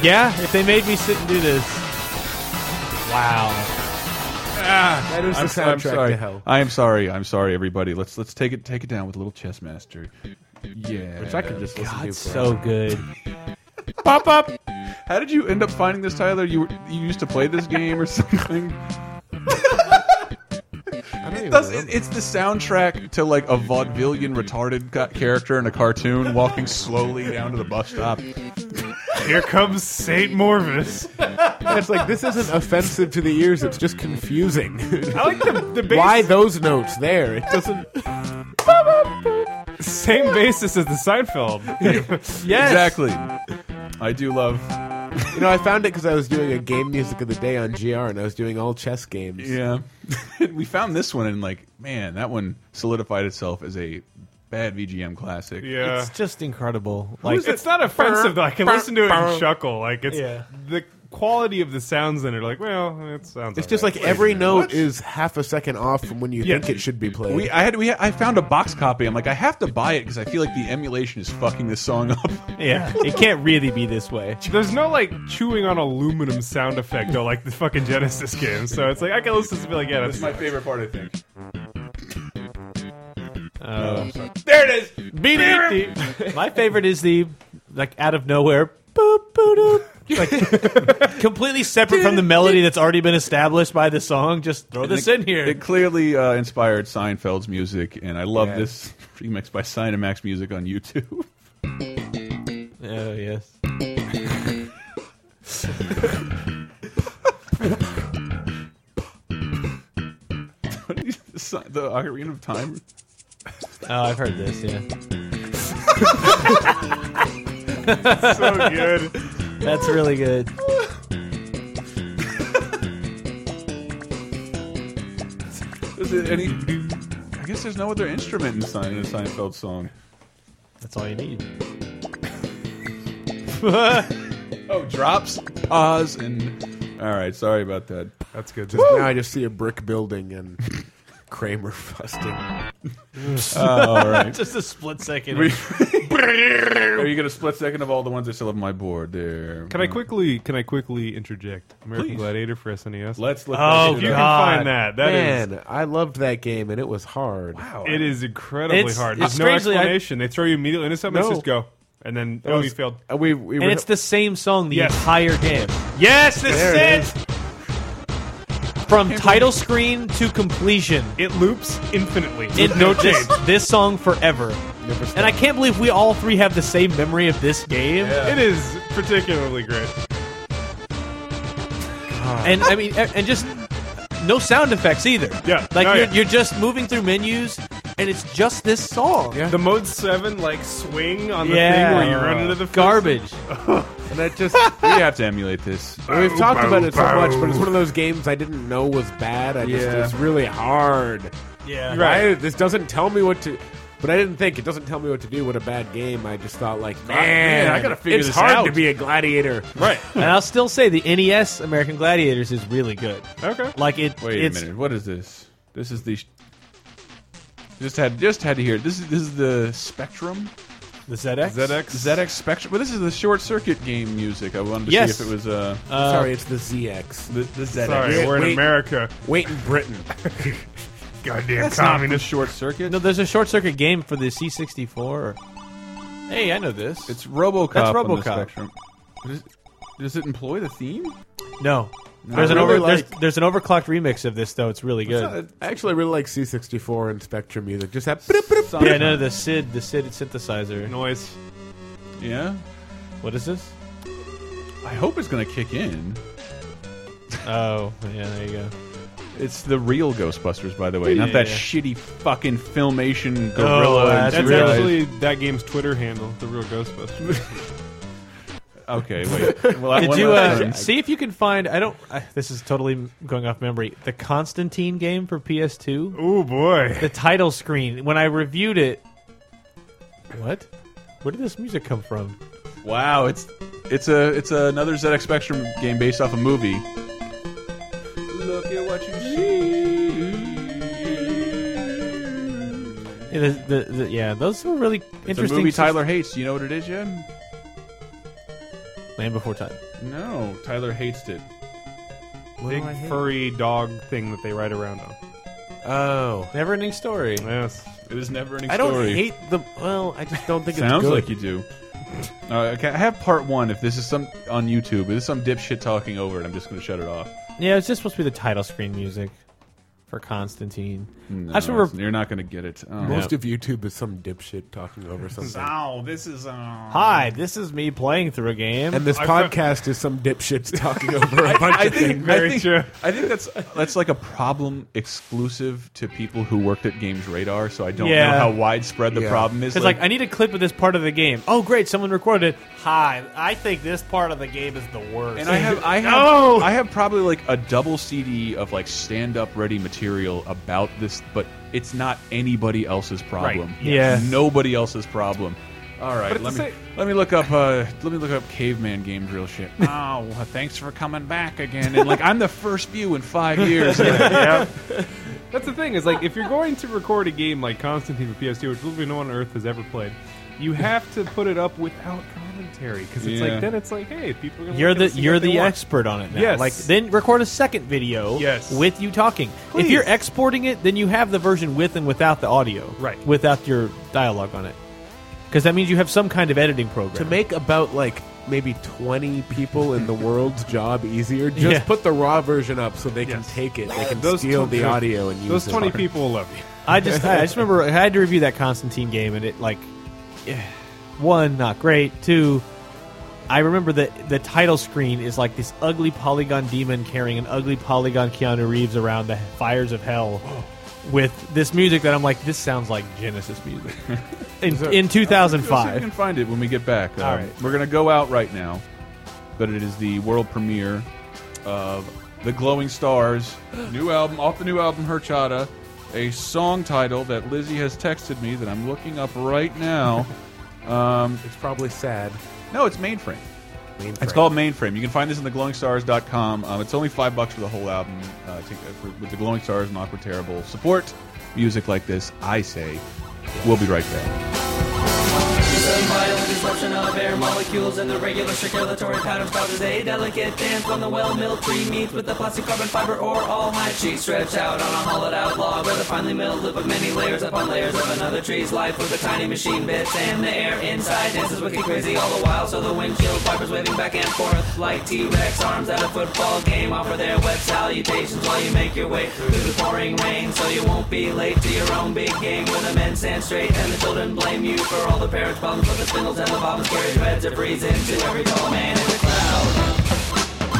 Yeah, if they made me sit and do this. Wow. that is the I'm, so- I'm soundtrack sorry. to hell. I am sorry. I'm sorry, everybody. Let's let's take it take it down with a little chess master. Yeah, Which I could just listen to. for So good. pop up. How did you end up finding this, Tyler? You were, you used to play this game or something? It does, it, it's the soundtrack to like a vaudevillian retarded ca- character in a cartoon walking slowly down to the bus stop. Here comes Saint Morvis. It's like this isn't offensive to the ears. It's just confusing. I like the, the bass. Why those notes there? It doesn't. Same basis as the Seinfeld. Yes. Exactly. I do love. You know, I found it because I was doing a game music of the day on GR, and I was doing all chess games. Yeah, we found this one and like, man, that one solidified itself as a bad VGM classic. yeah. It's just incredible. Like, Like it's not offensive though. I can listen to it and chuckle. Like it's Yeah. the quality of the sounds in it. are Like, well, it sounds. It's just like every note is half a second off from when you Yeah. think it should be played. We, I had, we, I found a box copy. I'm like, I have to buy it because I feel like the emulation is fucking this song up. yeah, it can't really be this way. There's no like chewing on aluminum sound effect though, like the fucking Genesis game. So it's like I can listen to it and be like, yeah, that's It's my favorite part, I think. there it is. My favorite is the like out of nowhere. boop, boop, doop. Like completely separate from the melody that's already been established by the song. Just throw this in here. It clearly uh, inspired Seinfeld's music, and I love this remix by Cinemax Music on YouTube. Oh yes. the the Ocarina of Time. Oh, I've heard this. Yeah, So good. that's really good. Is it any? I guess there's no other instrument in Sein- in a Seinfeld song. That's all you need. Oh, drops, pause, and all right. Sorry about that. That's good. Just now I just see a brick building and Kramer busting. all right. Just a split second. Are you gonna split second of all the ones I still have on my board there? Can I quickly? Can I quickly interject? American Please. Gladiator for SNES. Let's look. that if Oh, shit up. you can God. find that, that is. Man, I loved that game, and it was hard. Wow. It is incredibly It's- hard. it's There's no strangely- I- explanation. they throw you immediately into something. No. It's just go, and then oh, you failed. uh, We, we and were- it's the same song the Yes. entire game. Yes, this There it is it. From title screen to completion, It loops infinitely. it with no change. this, this song forever. And I can't believe we all three have the same memory of this game. It is particularly great. And I mean, a- and just no sound effects either. Yeah. like No, you're, yeah. you're just moving through menus, and it's just this song. Yeah. The mode seven like swing on the Yeah. thing where you run into the Garbage. and I just we have to emulate this. we've talked about it so much, but it's one of those games I didn't know was bad. I just Yeah. it's really hard. Yeah. Right? this doesn't tell me what to. But I didn't think it doesn't tell me what to do. What a bad game! I just thought like, man, I gotta figure it's this hard out." to be a gladiator. Right. And I'll still say the NES American Gladiators is really good. Okay. Like it. Wait it's, a minute. What is this? This is the. sh- Just had just had to hear it. This is this is the Spectrum The ZX. ZX. ZX Spectrum. Well, this is the short circuit game music. I wanted to Yes. see if it was uh, Sorry, it's the ZX. the, the ZX. Sorry, Wait, we're in wait. America. Wait in Britain. Goddamn That's not the communist. short circuit. No, there's a short circuit game for the C64. Or... Hey, I know this. it's RoboCop. That's on the RoboCop. Spectrum. What is- does it employ the theme? no. There's an I really over there's, like- there's an overclocked remix of this though. It's really good. I actually really like C64 and Spectrum music. Just that. Yeah, no, the SID, the SID synthesizer. noise. Yeah. What is this? I hope it's gonna kick in. Oh, yeah, there you go. It's the real Ghostbusters, by the way, not that Yeah. shitty fucking filmation gorilla. Oh, and that's That's real- realize- actually that game's Twitter handle, the real Ghostbusters. okay. Wait, well, I- Did one you last uh, thing. see if you can find? I don't. I, this is totally going off memory. The Constantine game for PS2. oh boy. The title screen. When I reviewed it, what? Where did this music come from? Wow, it's it's a it's another ZX Spectrum game based off a movie. Look at what you see. Yeah, the- the- the- yeah, those were really It's a interesting. movie Tyler hates. You know what it is, Jim? Land Before Time. No, Tyler hates it. Big furry dog thing that they ride around on. Oh, never ending story. Yes. It is never an I don't story. hate the. Well, I just don't think it's Sounds good. like you do. Uh, okay, I have part one. If this is some on YouTube, if this is some dipshit talking over it, I'm just going to shut it off. Yeah, it's just supposed to be the title screen music for Constantine. I just No, remember. you're not going to get it. Oh. Most of YouTube is some dipshit talking over something. Ow, this is. um, Uh... Hi, this is me playing through a game. And this podcast is some dipshits talking over a bunch of things. I Very think, true. I think that's that's like a problem exclusive to people who worked at Games Radar. So I don't know Yeah. how widespread the Yeah. problem is. It's like, I need a clip of this part of the game. Oh, great, someone recorded it. Hi, I think this part of the game is the worst. and I have I have No! I have probably like a double CD of like stand up ready material about this, but it's not anybody else's problem. Right. Yes. Yeah. nobody else's problem. All right, it's let me the same- let me look up uh, let me look up caveman games real shit. Oh, well, thanks for coming back again. And like I'm the first view in five years. That's the thing is like if you're going to record a game like Constantine for PS2, which literally no one on earth has ever played, you have to put it up without commentary because it's Yeah. like then it's like hey, people are gonna you're look at the this and you're what they the want. expert on it now. Yes. Like then record a second video Yes. with you talking. If you're exporting it, then you have the version with and without the audio. Right. Without your dialogue on it. Because that means you have some kind of editing program. To make about like maybe 20 people in the world's job easier, just Yeah. put the raw version up so they can Yes. take it. They can Those steal 20 the audio and use Those it. twenty people will love you. I just I just remember I had to review that Constantine game and it like eh, one not great two I remember that the title screen is like this ugly polygon demon carrying an ugly polygon Keanu Reeves around the fires of hell with this music that I'm like this sounds like Genesis music in, in We'll see if we 2005 can find it when we get back. Um, All right. We're going to go out right now, but it is the world premiere of The Glowing Stars, new album, off the new album, Herchata, a song title that Lizzie has texted me that I'm looking up right now. It's probably sad. no, it's Mainframe. It's Mainframe. called Mainframe. You can find this in theglowingstars.com. Um, it's only five bucks for the whole album. Uh, take, uh, for, with The Glowing Stars and Awkward Terrible. Support music like this, I say. We'll be right back. Some violent disruption of air molecules and the regular circulatory patterns causes a delicate dance when the well-milled tree meets with the plastic carbon fiber or all high tree stretched out on a hollowed out log where the finely milled lip of many layers upon layers of another tree's life with the tiny machine bits and the air inside dances wicked crazy all the while so the windshield wipers waving back and forth like T-Rex arms at a football game offer their wet salutations while you make your way through the pouring rain so you won't be late to your own big game where the men stand straight and the children blame you for all the parents' problems but the spindles and the bombs carry threads of reason to every tall man in the cloud.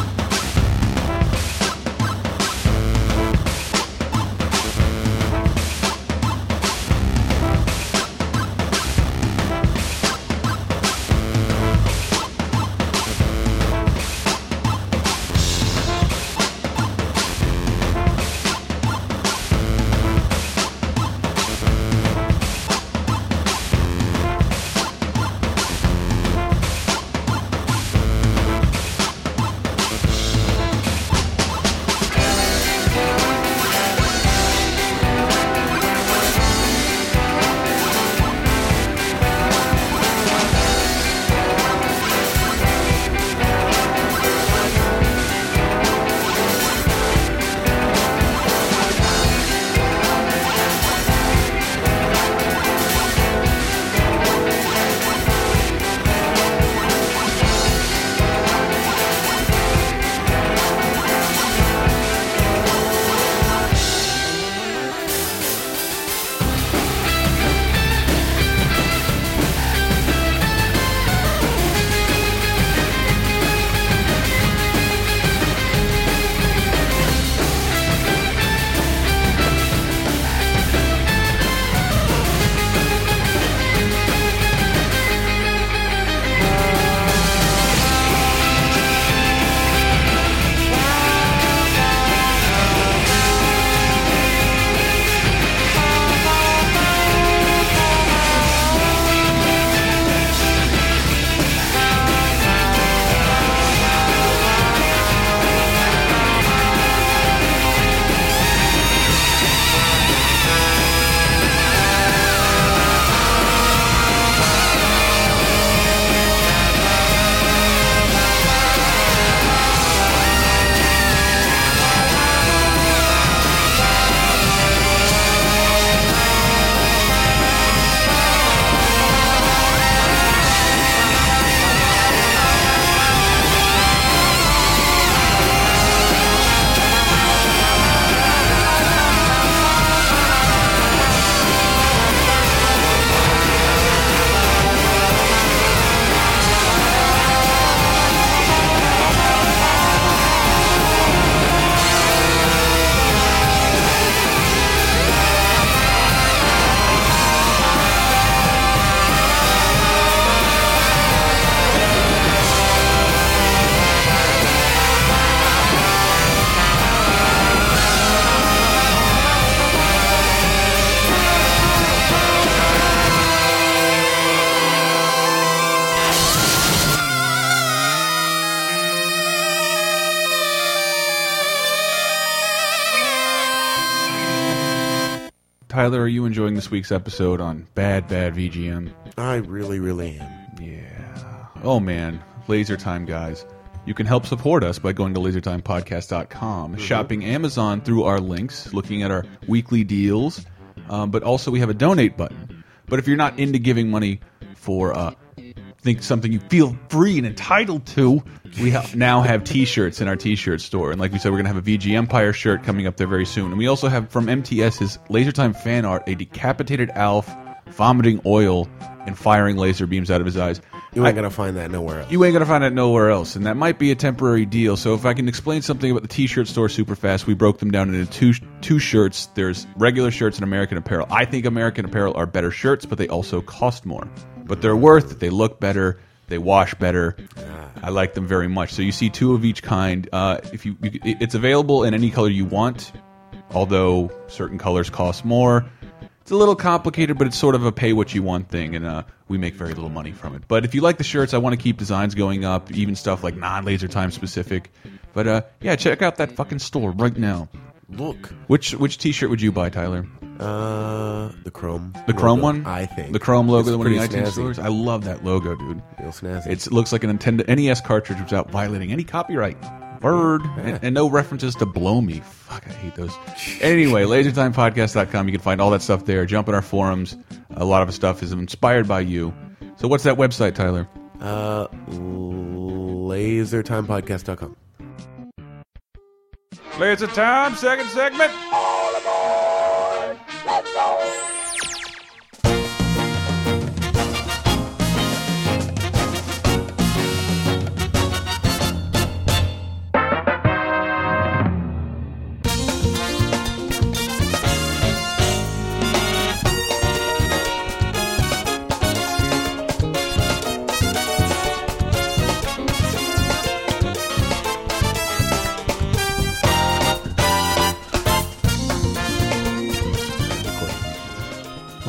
Tyler, are you enjoying this week's episode on Bad Bad VGM? I really, really am. Yeah. Oh man, Laser Time guys. You can help support us by going to lasertimepodcast.com, shopping Amazon through our links, looking at our weekly deals, um, but also we have a donate button. But if you're not into giving money for uh, think something you feel free and entitled to, we ha now have t-shirts in our t-shirt store. And like we said, we're going to have a VG Empire shirt coming up there very soon. And we also have from MTS his Laser Time fan art, a decapitated Alf vomiting oil and firing laser beams out of his eyes. You ain't gonna find that nowhere else. You ain't gonna find it nowhere else, and that might be a temporary deal. So if I can explain something about the T-shirt store super fast, we broke them down into two two shirts. There's regular shirts and American Apparel. I think American Apparel are better shirts, but they also cost more. But they're worth. it. They look better. They wash better. I like them very much. So you see two of each kind. Uh, if you, you, it- it's available in any color you want, although certain colors cost more. It's a little complicated, but it's sort of a pay what you want thing, and uh, we make very little money from it. But if you like the shirts, I want to keep designs going up, even stuff like non laser time specific. But uh, yeah, check out that fucking store right now. Look, Which which t shirt would you buy, Tyler? uh, the Chrome, The Chrome logo, one, I think the Chrome logo, It's the one in the pretty iTunes snazzy. stores. I love that logo, dude. Real snazzy. It's, it looks like a Nintendo NES cartridge without violating any copyright. Bird. And, and no references to Blow Me. Fuck, I hate those. Anyway, lasertimepodcast.com. You can find all that stuff there. Jump in our forums. A lot of stuff is inspired by you. So, what's that website, Tyler? uh, lasertimepodcast.com. Laser Time, second segment.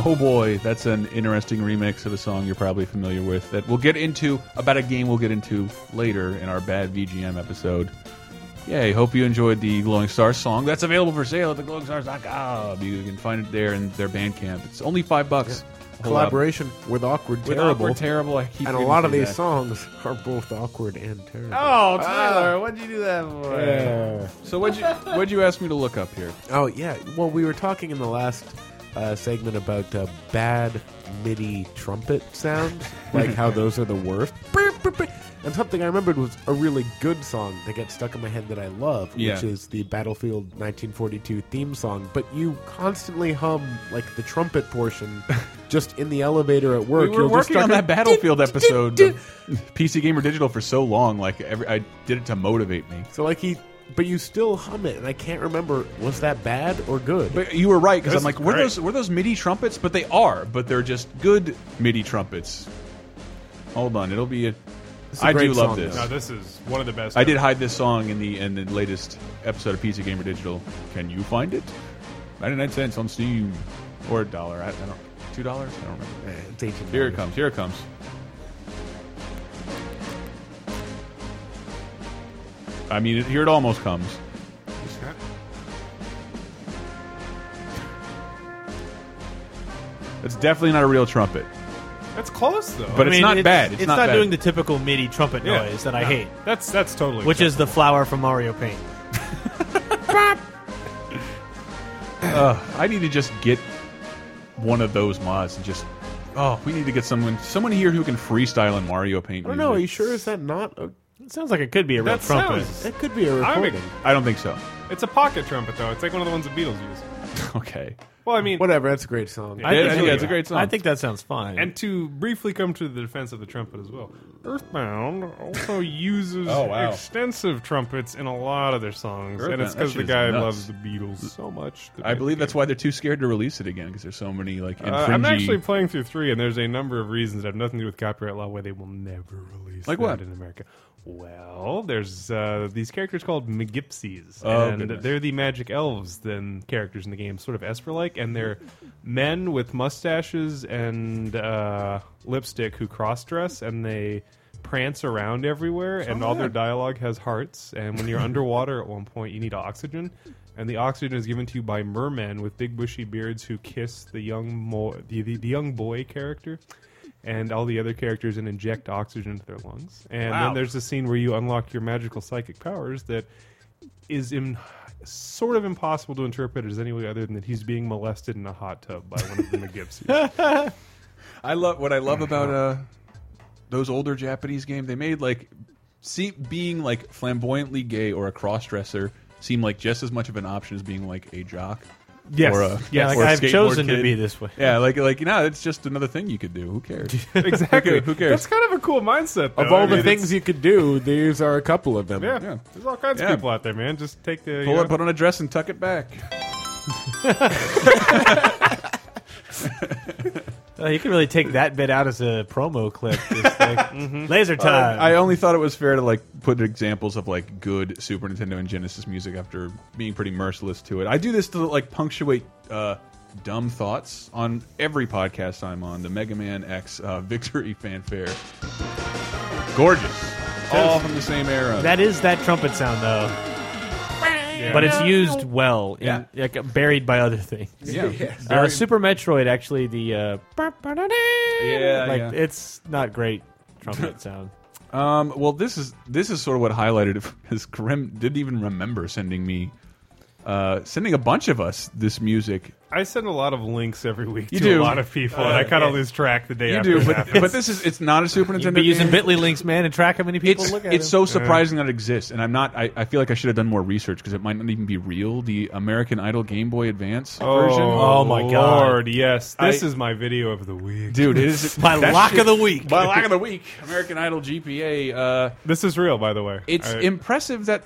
Oh boy, that's an interesting remix of a song you're probably familiar with that we'll get into about a game we'll get into later in our bad VGM episode. Yay, hope you enjoyed the Glowing Stars song. That's available for sale at thegloingstars.com. You can find it there in their Bandcamp. It's only five bucks. Hold up. Collaboration with awkward, With terrible, Awkward Terrible. I keep and a reading lot of through these that. songs are both awkward and terrible. Ah. Oh, Tyler, what'd you do that for? So what'd you, what'd you ask me to look up here? Oh yeah. Well, we were talking in the last uh, segment about uh, bad MIDI trumpet sounds, like how those are the worst. Beep, beep, beep. And something I remembered was a really good song that gets stuck in my head that I love, Yeah. which is the Battlefield 1942 theme song. But you constantly hum like the trumpet portion, just in the elevator at work. We were You'll just working on start- that Battlefield episode of PC Gamer Digital for so long. Like every, I did it to motivate me. So like he, but you still hum it, and I can't remember was that bad or good. But you were right because I'm like, is were great. those were those MIDI trumpets? But they are, but they're just good MIDI trumpets. Hold on, it'll be a. a I do great love song, this. No, Ah, this is one of the best. I did hide this song in the in the latest episode of PC Gamer Digital. Can you find it? Ninety nine cents on Steam or a dollar. I, I don't. Two dollars? I don't remember. it's ancient Here it comes. Here it comes. I mean, it, here it almost comes. It's definitely not a real trumpet. That's close though. But I it's mean, not bad. It's, It's, not, bad. doing the typical MIDI trumpet Yeah. noise that I No. hate, that's that's totally. which acceptable. is the flower from Mario Paint. I need to just get one of those mods and just. Oh, we need to get someone someone here who can freestyle in Mario Paint. I don't know. Are you music. sure is that not? A, It sounds like it could be a real that trumpet. sounds. that could be a I'm recording. a- I don't think so. It's a pocket trumpet though. It's like one of the ones the Beatles use. Okay. Well, I mean, Whatever, that's a great song. I Yeah, think so, yeah, it's a yeah. great song. I think that sounds fine. and to briefly come to the defense of the trumpet as well. Earthbound also uses Oh, wow. extensive trumpets in a lot of their songs, and Earthbound, it's that because the shit is guy nuts. loves the Beatles so much. that I they- believe that's why they're too scared to release it again because there's so many like. Uh, I'm infringy- actually playing through three, and there's a number of reasons that have nothing to do with copyright law why they will never release Like that what? in America. Well, there's uh, these characters called Megipsies, Oh, and goodness. they're the magic elves then characters in the game, sort of Esper-like, and they're men with mustaches and uh, lipstick who cross-dress, and they prance around everywhere, and all Oh, their dialogue has hearts. And when you're underwater at one point, you need oxygen, and the oxygen is given to you by mermen with big bushy beards who kiss the young mo- the, the, the young boy character. And all the other characters and inject oxygen into their lungs. And then there's a scene where you unlock your magical psychic powers that is in, sort of impossible to interpret as any way other than that he's being molested in a hot tub by one of the McGibseys. I love what I love about uh, those older Japanese games. They made like see, being like flamboyantly gay or a crossdresser seem like just as much of an option as being like a jock. Yes. or a, Yeah, like or a I've skateboard chosen kid. to be this way. Yeah, like like you know, it's just another thing you could do. Who cares? exactly. Who cares? That's kind of a cool mindset. Though. Of all I the mean, things you could do, these are a couple of them. it's- yeah, Yeah. there's all kinds Yeah. of people out there, man. Just take the. you Pull know- it, put on a dress, and tuck it back. Oh, you can really take that bit out as a promo clip. Just like, Laser time. I only thought it was fair to like put examples of like good Super Nintendo and Genesis music after being pretty merciless to it. I do this to like punctuate uh, dumb thoughts on every podcast I'm on. The Mega Man X uh, Victory Fanfare, gorgeous, all from the same era. that is that trumpet sound though. But it's used well, in, Yeah. like, buried by other things. yeah, Uh, Super Metroid, actually, the uh, yeah, like yeah. it's not great trumpet sound. Um, well, this is this is sort of what highlighted it because Grim didn't even remember sending me, uh, sending a bunch of us this music. I send a lot of links every week You to do. a lot of people, and I Uh, kind of lose track the day You after do, it but happens. but this is it's not a Super Nintendo. You'd be using game. Bitly links, man, and track how many people it's look at it's them. so surprising that it exists, and I'm not. I, I feel like I should have done more research because it might not even be real. The American Idol Game Boy Advance version. Oh my God. Lord, yes, this I- is my video of the week. dude, it is My lock of the week. by lack of the week. American Idol GPA. Uh, This is real, by the way. it's I, impressive that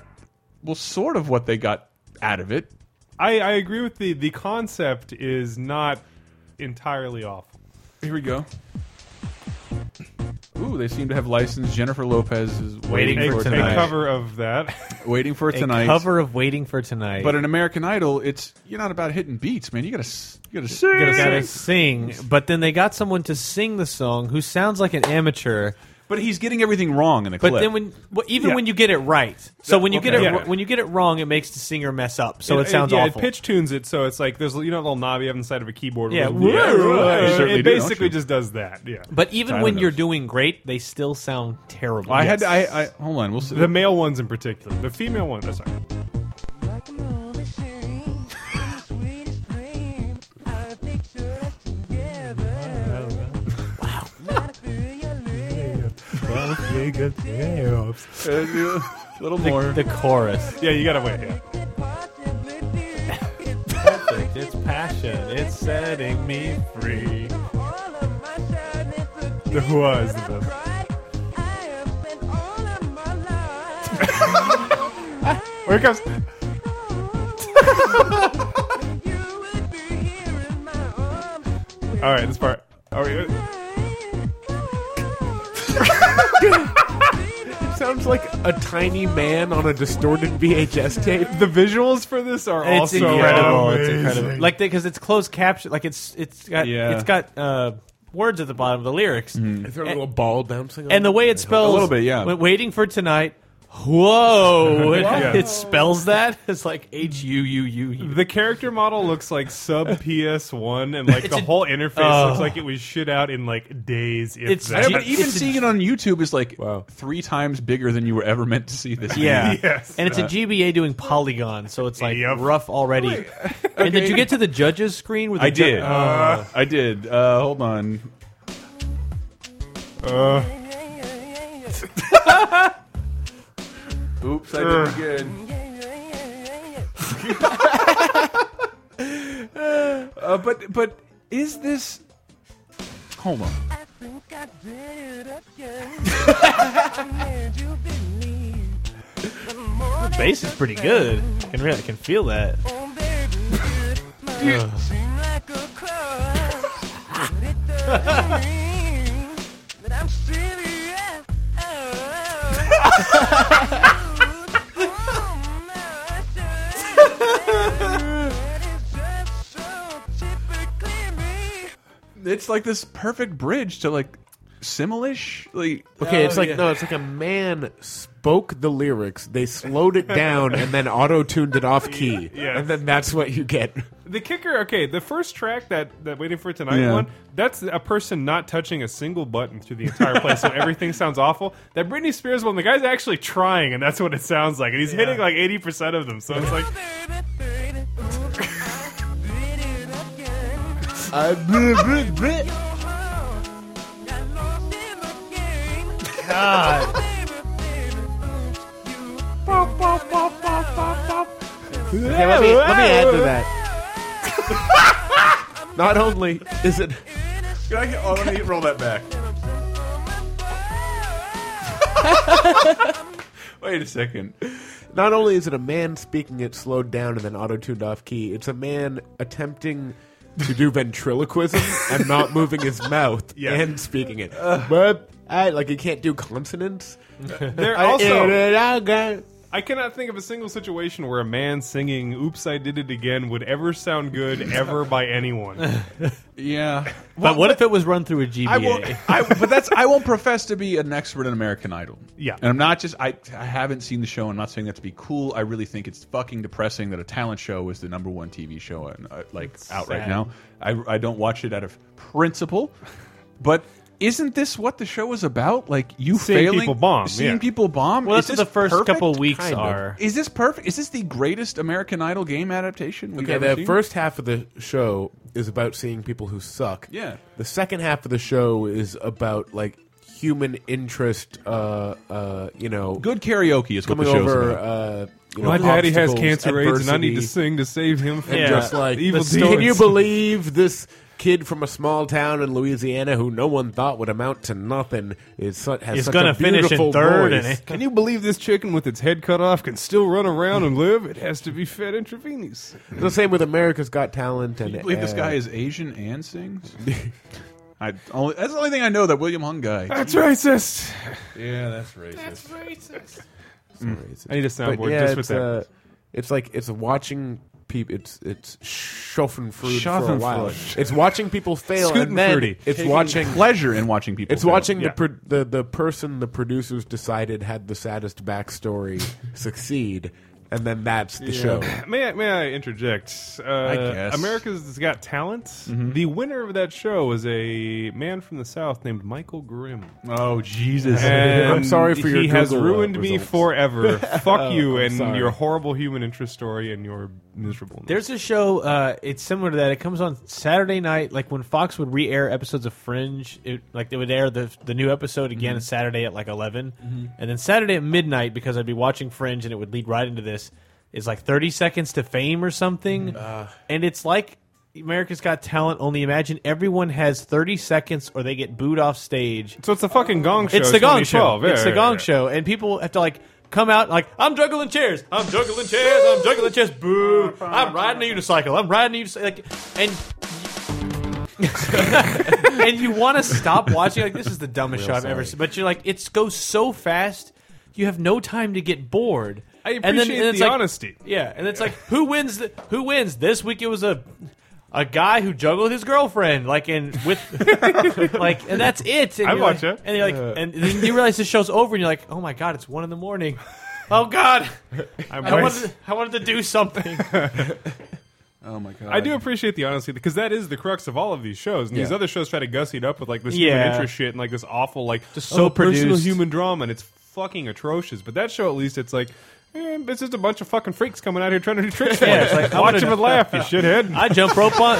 well, sort of what they got out of it. I, I agree with the the concept is not entirely awful. Here we go. Ooh, they seem to have licensed Jennifer Lopez is waiting, Waiting for for A, tonight. a cover of that. Waiting for A tonight. cover of Waiting for Tonight. But in American Idol, it's you're not about hitting beats, man. You gotta s- you gotta sing. They gotta sing, but then they got someone to sing the song who sounds like an amateur. But he's getting everything wrong in the But clip. then when well, even Yeah. when you get it right, so when you get it okay. wr- Yeah. when you get it wrong, it makes the singer mess up. So it, sounds yeah, awful. It pitch tunes it, so it's like there's you know a little knob you have inside of a keyboard. Yeah. It goes, Yeah. You certainly do, don't it basically you? just does that. Yeah, but even when know. you're doing great, they still sound terrible. I had I, I hold on. We'll see. the male ones in particular, the female one. Oh, sorry. a little the, more. the chorus. Yeah, you gotta wait. Yeah. It's passion. It's setting me free. The who is the best. Here it comes. All right, this part. All right. Sounds like a tiny man on a distorted VHS tape. The visuals for this are It's also um, incredible. It's amazing. incredible. Like because it's closed caption. Like it's it's got Yeah. it's got uh, words at the bottom of the lyrics. Throw a little ball bouncing. And the way it spells Mm-hmm. little bit, yeah. wa- Waiting for tonight. Whoa! It, Yeah. it spells that. It's like H U U U U. The character model looks like sub PS1, and like the a- whole interface looks Oh. like it was shit out in like days. If It's I that. know, but even It's a- seeing it on YouTube is like Wow. three times bigger than you were ever meant to see this. Yeah. Yes. And it's a GBA doing polygon, so it's like Yep. rough already. And did you get to the judges screen with the I ju- did. Oh. I did. Uh, hold on. Oops, I did it again. Uh, but but is this? Hold on. the bass is pretty good. I can really I can feel that. It's like this perfect bridge to like similish? Like Okay, it's Oh, like yeah. no, it's like a man spoke the lyrics. They slowed it down and then auto tuned it off key, Yes. and then that's what you get. The kicker, okay, the first track that that Waiting for Tonight Yeah. one, that's a person not touching a single button through the entire play, so everything sounds awful. That Britney Spears one, the guy's actually trying, and that's what it sounds like, and he's hitting like eighty percent of them. So it's like, Okay, let me let me add to that. Not only is it Can I get, oh, let me roll that back. wait a second. not only is it a man speaking it slowed down and then auto tuned off key, it's a man attempting to do ventriloquism and not moving his mouth Yeah. and speaking it. but I like you can't do consonants. they're also. I cannot think of a single situation where a man singing "Oops, I Did It Again" would ever sound good ever by anyone. Yeah. But what if it was run through a I won't. GBA? I, but that's. I won't profess to be an expert in American Idol. Yeah. And I'm not just. I. I haven't seen the show. I'm not saying that to be cool. I really think it's fucking depressing that a talent show is the number one TV show and uh, like out right sad. now. I. I don't watch it out of principle, but. Isn't this what the show is about? Like you Seeing failing, people bomb, seeing yeah. people bomb. Well, Is that's what this the first perfect? couple weeks Kind of. are. Is this perfect? Is this the greatest American Idol game adaptation? We've Okay, ever the seen? first half of the show is about seeing people who suck. Yeah. The second half of the show is about like human interest. Uh, uh, you know, good karaoke is what the coming show's over. about. Uh, you know, My daddy has obstacles, cancer AIDS, and I need to adversity. sing to save him from And Yeah. just like, the evil The demons. can you believe this kid from a small town in Louisiana who no one thought would amount to nothing is su- has He's such gonna a finish beautiful in third, voice. and it, Can you believe this chicken with its head cut off can still run around and live? It has to be fed intravenous. The same with America's Got Talent, and I believe this uh, guy is Asian and sings. I only, that's the only thing I know that William Hung guy. That's racist. Yeah, that's racist. Hmm. I need a soundboard But yeah, just with it's, that. uh, it's like it's watching people. It's it's Schaffenfreude for a while. Schadenfreude. It's watching people fail, and then Schutenfreude. it's watching. pleasure in watching people. It's fail. watching Yeah. the, pro- the the person the producers decided had the saddest backstory succeed, and then that's the show. May I, may I interject? Uh, guess. America's Got Talent. The winner of that show was a man from the South named Michael Grimm. Oh Jesus! And I'm sorry for your He has Google, uh, ruined me results. forever. Fuck you I'm and sorry. your horrible human interest story and your miserable. There's a show. Uh, it's similar to that. It comes on Saturday night, like when Fox would re-air episodes of Fringe. It like they would air the the new episode again Saturday at like 11 and then Saturday at midnight because I'd be watching Fringe and it would lead right into this. Is like thirty seconds to fame or something, and it's like America's Got Talent. Only imagine everyone has thirty seconds or they get booed off stage. so it's the fucking Gong Show. It's the Gong 2012. Show. Yeah, it's the yeah, Gong yeah. Show, and people have to like come out like I'm juggling chairs, I'm juggling chairs, I'm juggling chairs. Boo! I'm riding a unicycle. I'm riding a unicycle. Like, and and you want to stop watching. Like this is the dumbest show I've ever seen. But you're like, it's goes so fast, you have no time to get bored. I And appreciate then- and it's the like- honesty. yeah, and it's like who wins? The, who wins this week? It was a a guy who juggled his girlfriend, like and with like, and that's it. And I you're watch like- it. And you're like, and then you realize the show's over, and you're like, oh my god, it's one in the morning. Oh god, I'm I racist. wanted to, I wanted to do something. oh my God! I do appreciate the honesty because that is the crux of all of these shows. And these Yeah. other shows try to gussy it up with like this human Yeah. interest shit and like this awful like Just so oh, personal produced. human drama, and it's fucking atrocious. But that show, at least, it's like. eh, it's just a bunch of fucking freaks coming out here trying to do tricks. Yeah, for it's us. like, I watch wanna- them and laugh, you shithead. I jump rope on.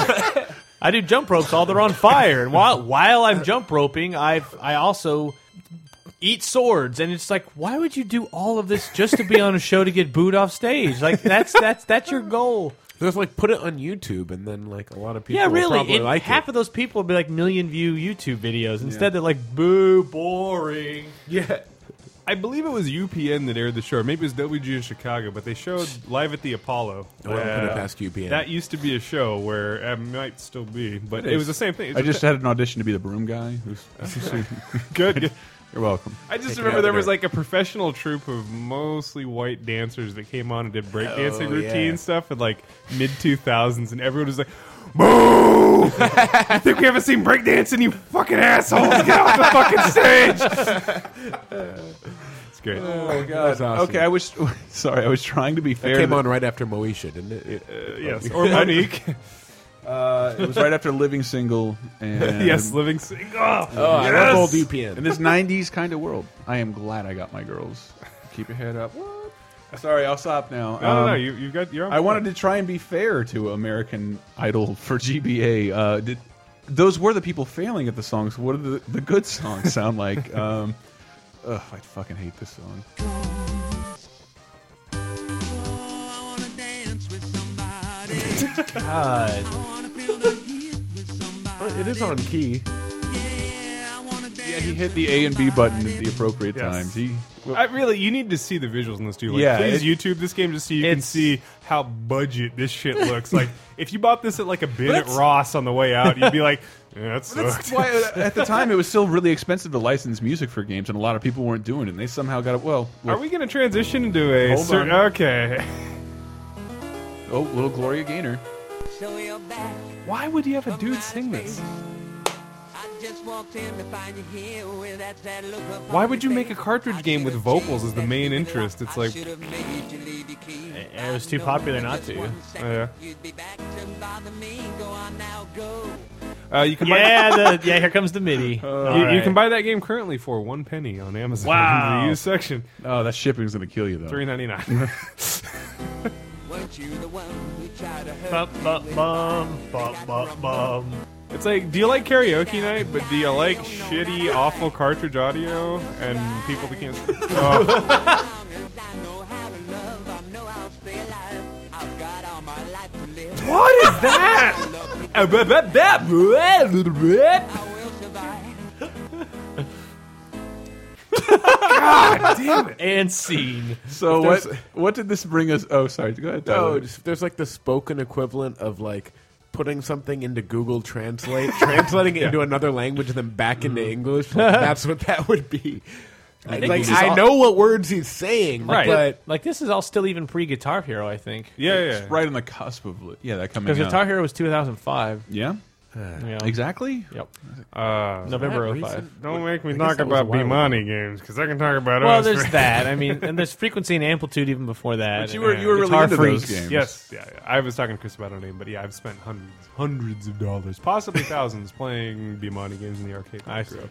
I do jump ropes all they're on fire, and while while I'm jump roping, I I also eat swords, and it's like, why would you do all of this just to be on a show to get booed off stage? Like that's that's that's your goal. There's like put it on YouTube, and then like a lot of people Yeah, will really. probably And like half it. of those people would be like million view YouTube videos. Instead, they're like, boo, boring. Yeah. I believe it was UPN that aired the show. or Maybe it was WG in Chicago, but they showed live at the Apollo. Oh, I wouldn't put it past UPN. That used to be a show where it might still be, but it, is. was the same thing. I just had an audition to be the broom guy. Who's, good. you're welcome. I just it remember out there there. was like a professional troupe of mostly white dancers that came on and did breakdancing Oh, routine yeah. stuff in like mid 2000s, and everyone was like, Boo! you think we haven't seen breakdancing, you fucking asshole? Get off the fucking stage! it's great. Oh uh, God. awesome. Okay, I was sorry. I was trying to be fair. It came to- on right after Moesha, didn't it? Uh, yes, or Monique. It was right after Living Single and yes, Living Single. Oh, oh, I love yes! old UPN. in this '90s kind of world. I am glad I got my girls. Keep your head up. What? Sorry, I'll stop now. No, no, no, Um, you, you've got. You're on I wanted to try and be fair to American Idol for GBA. Uh, did, those were the people failing at the songs. What do the, the good songs sound like? Um, ugh, I fucking hate this song. God. It is on key. Yeah, he hit the A and B button at the appropriate Yes. times. He, I really, you need to see the visuals in this too. Like, Yeah, please it- YouTube this game just so you can it's- see how budget this shit looks. like, if you bought this at like a bin at Ross on the way out, you'd be like, yeah, that That's sucked. why uh, at the time it was still really expensive to license music for games, and a lot of people weren't doing it. And they somehow got it. Well, Are look- we going to transition into a Hold cer- on. okay? oh, little Gloria Gaynor. Why would you have a dude sing this? Why would you make a cartridge game with vocals as the main interest? It's like, It was too popular not to. Oh, yeah. Uh, you can Yeah, the, yeah. Here comes the MIDI. buy you, you can buy that game currently for one penny on Amazon. Wow. in the used section Oh, that shipping's gonna kill you though. three ninety nine. Bum, bum, bum, bum, bum, bum. It's like, do you like karaoke night? But do you like shitty, awful cartridge audio and people that can't? Oh, what is that? Uh, blah, blah, blah, blah, blah, blah. And scene. So If what? there's- What did this bring us? Oh, sorry. Go ahead. Tyler. Oh, just- there's like the spoken equivalent of like putting something into Google Translate, translating it into another language, and then back into Mm-hmm. English. Like, that's what that would be. Like, think like, this is I all- know what words he's saying, Right. but Like this is all still even pre Guitar Hero, I think, Yeah, yeah. right on the cusp of li- yeah, that coming because out. Guitar Hero was 2005. yeah, Yeah. exactly. Yep. Uh, November that 05. recent? don't make me guess talk that was a about while ago. Bimani games because I can talk about Well, us. there's that. I mean, and there's frequency and amplitude even before that. But you were and you were really Guitar into Freaks. those games. Yes, yeah, yeah. I was talking to Chris about our name, but yeah, I've spent hundreds, hundreds of dollars, possibly thousands, playing Bimani games in the arcade. I grew up.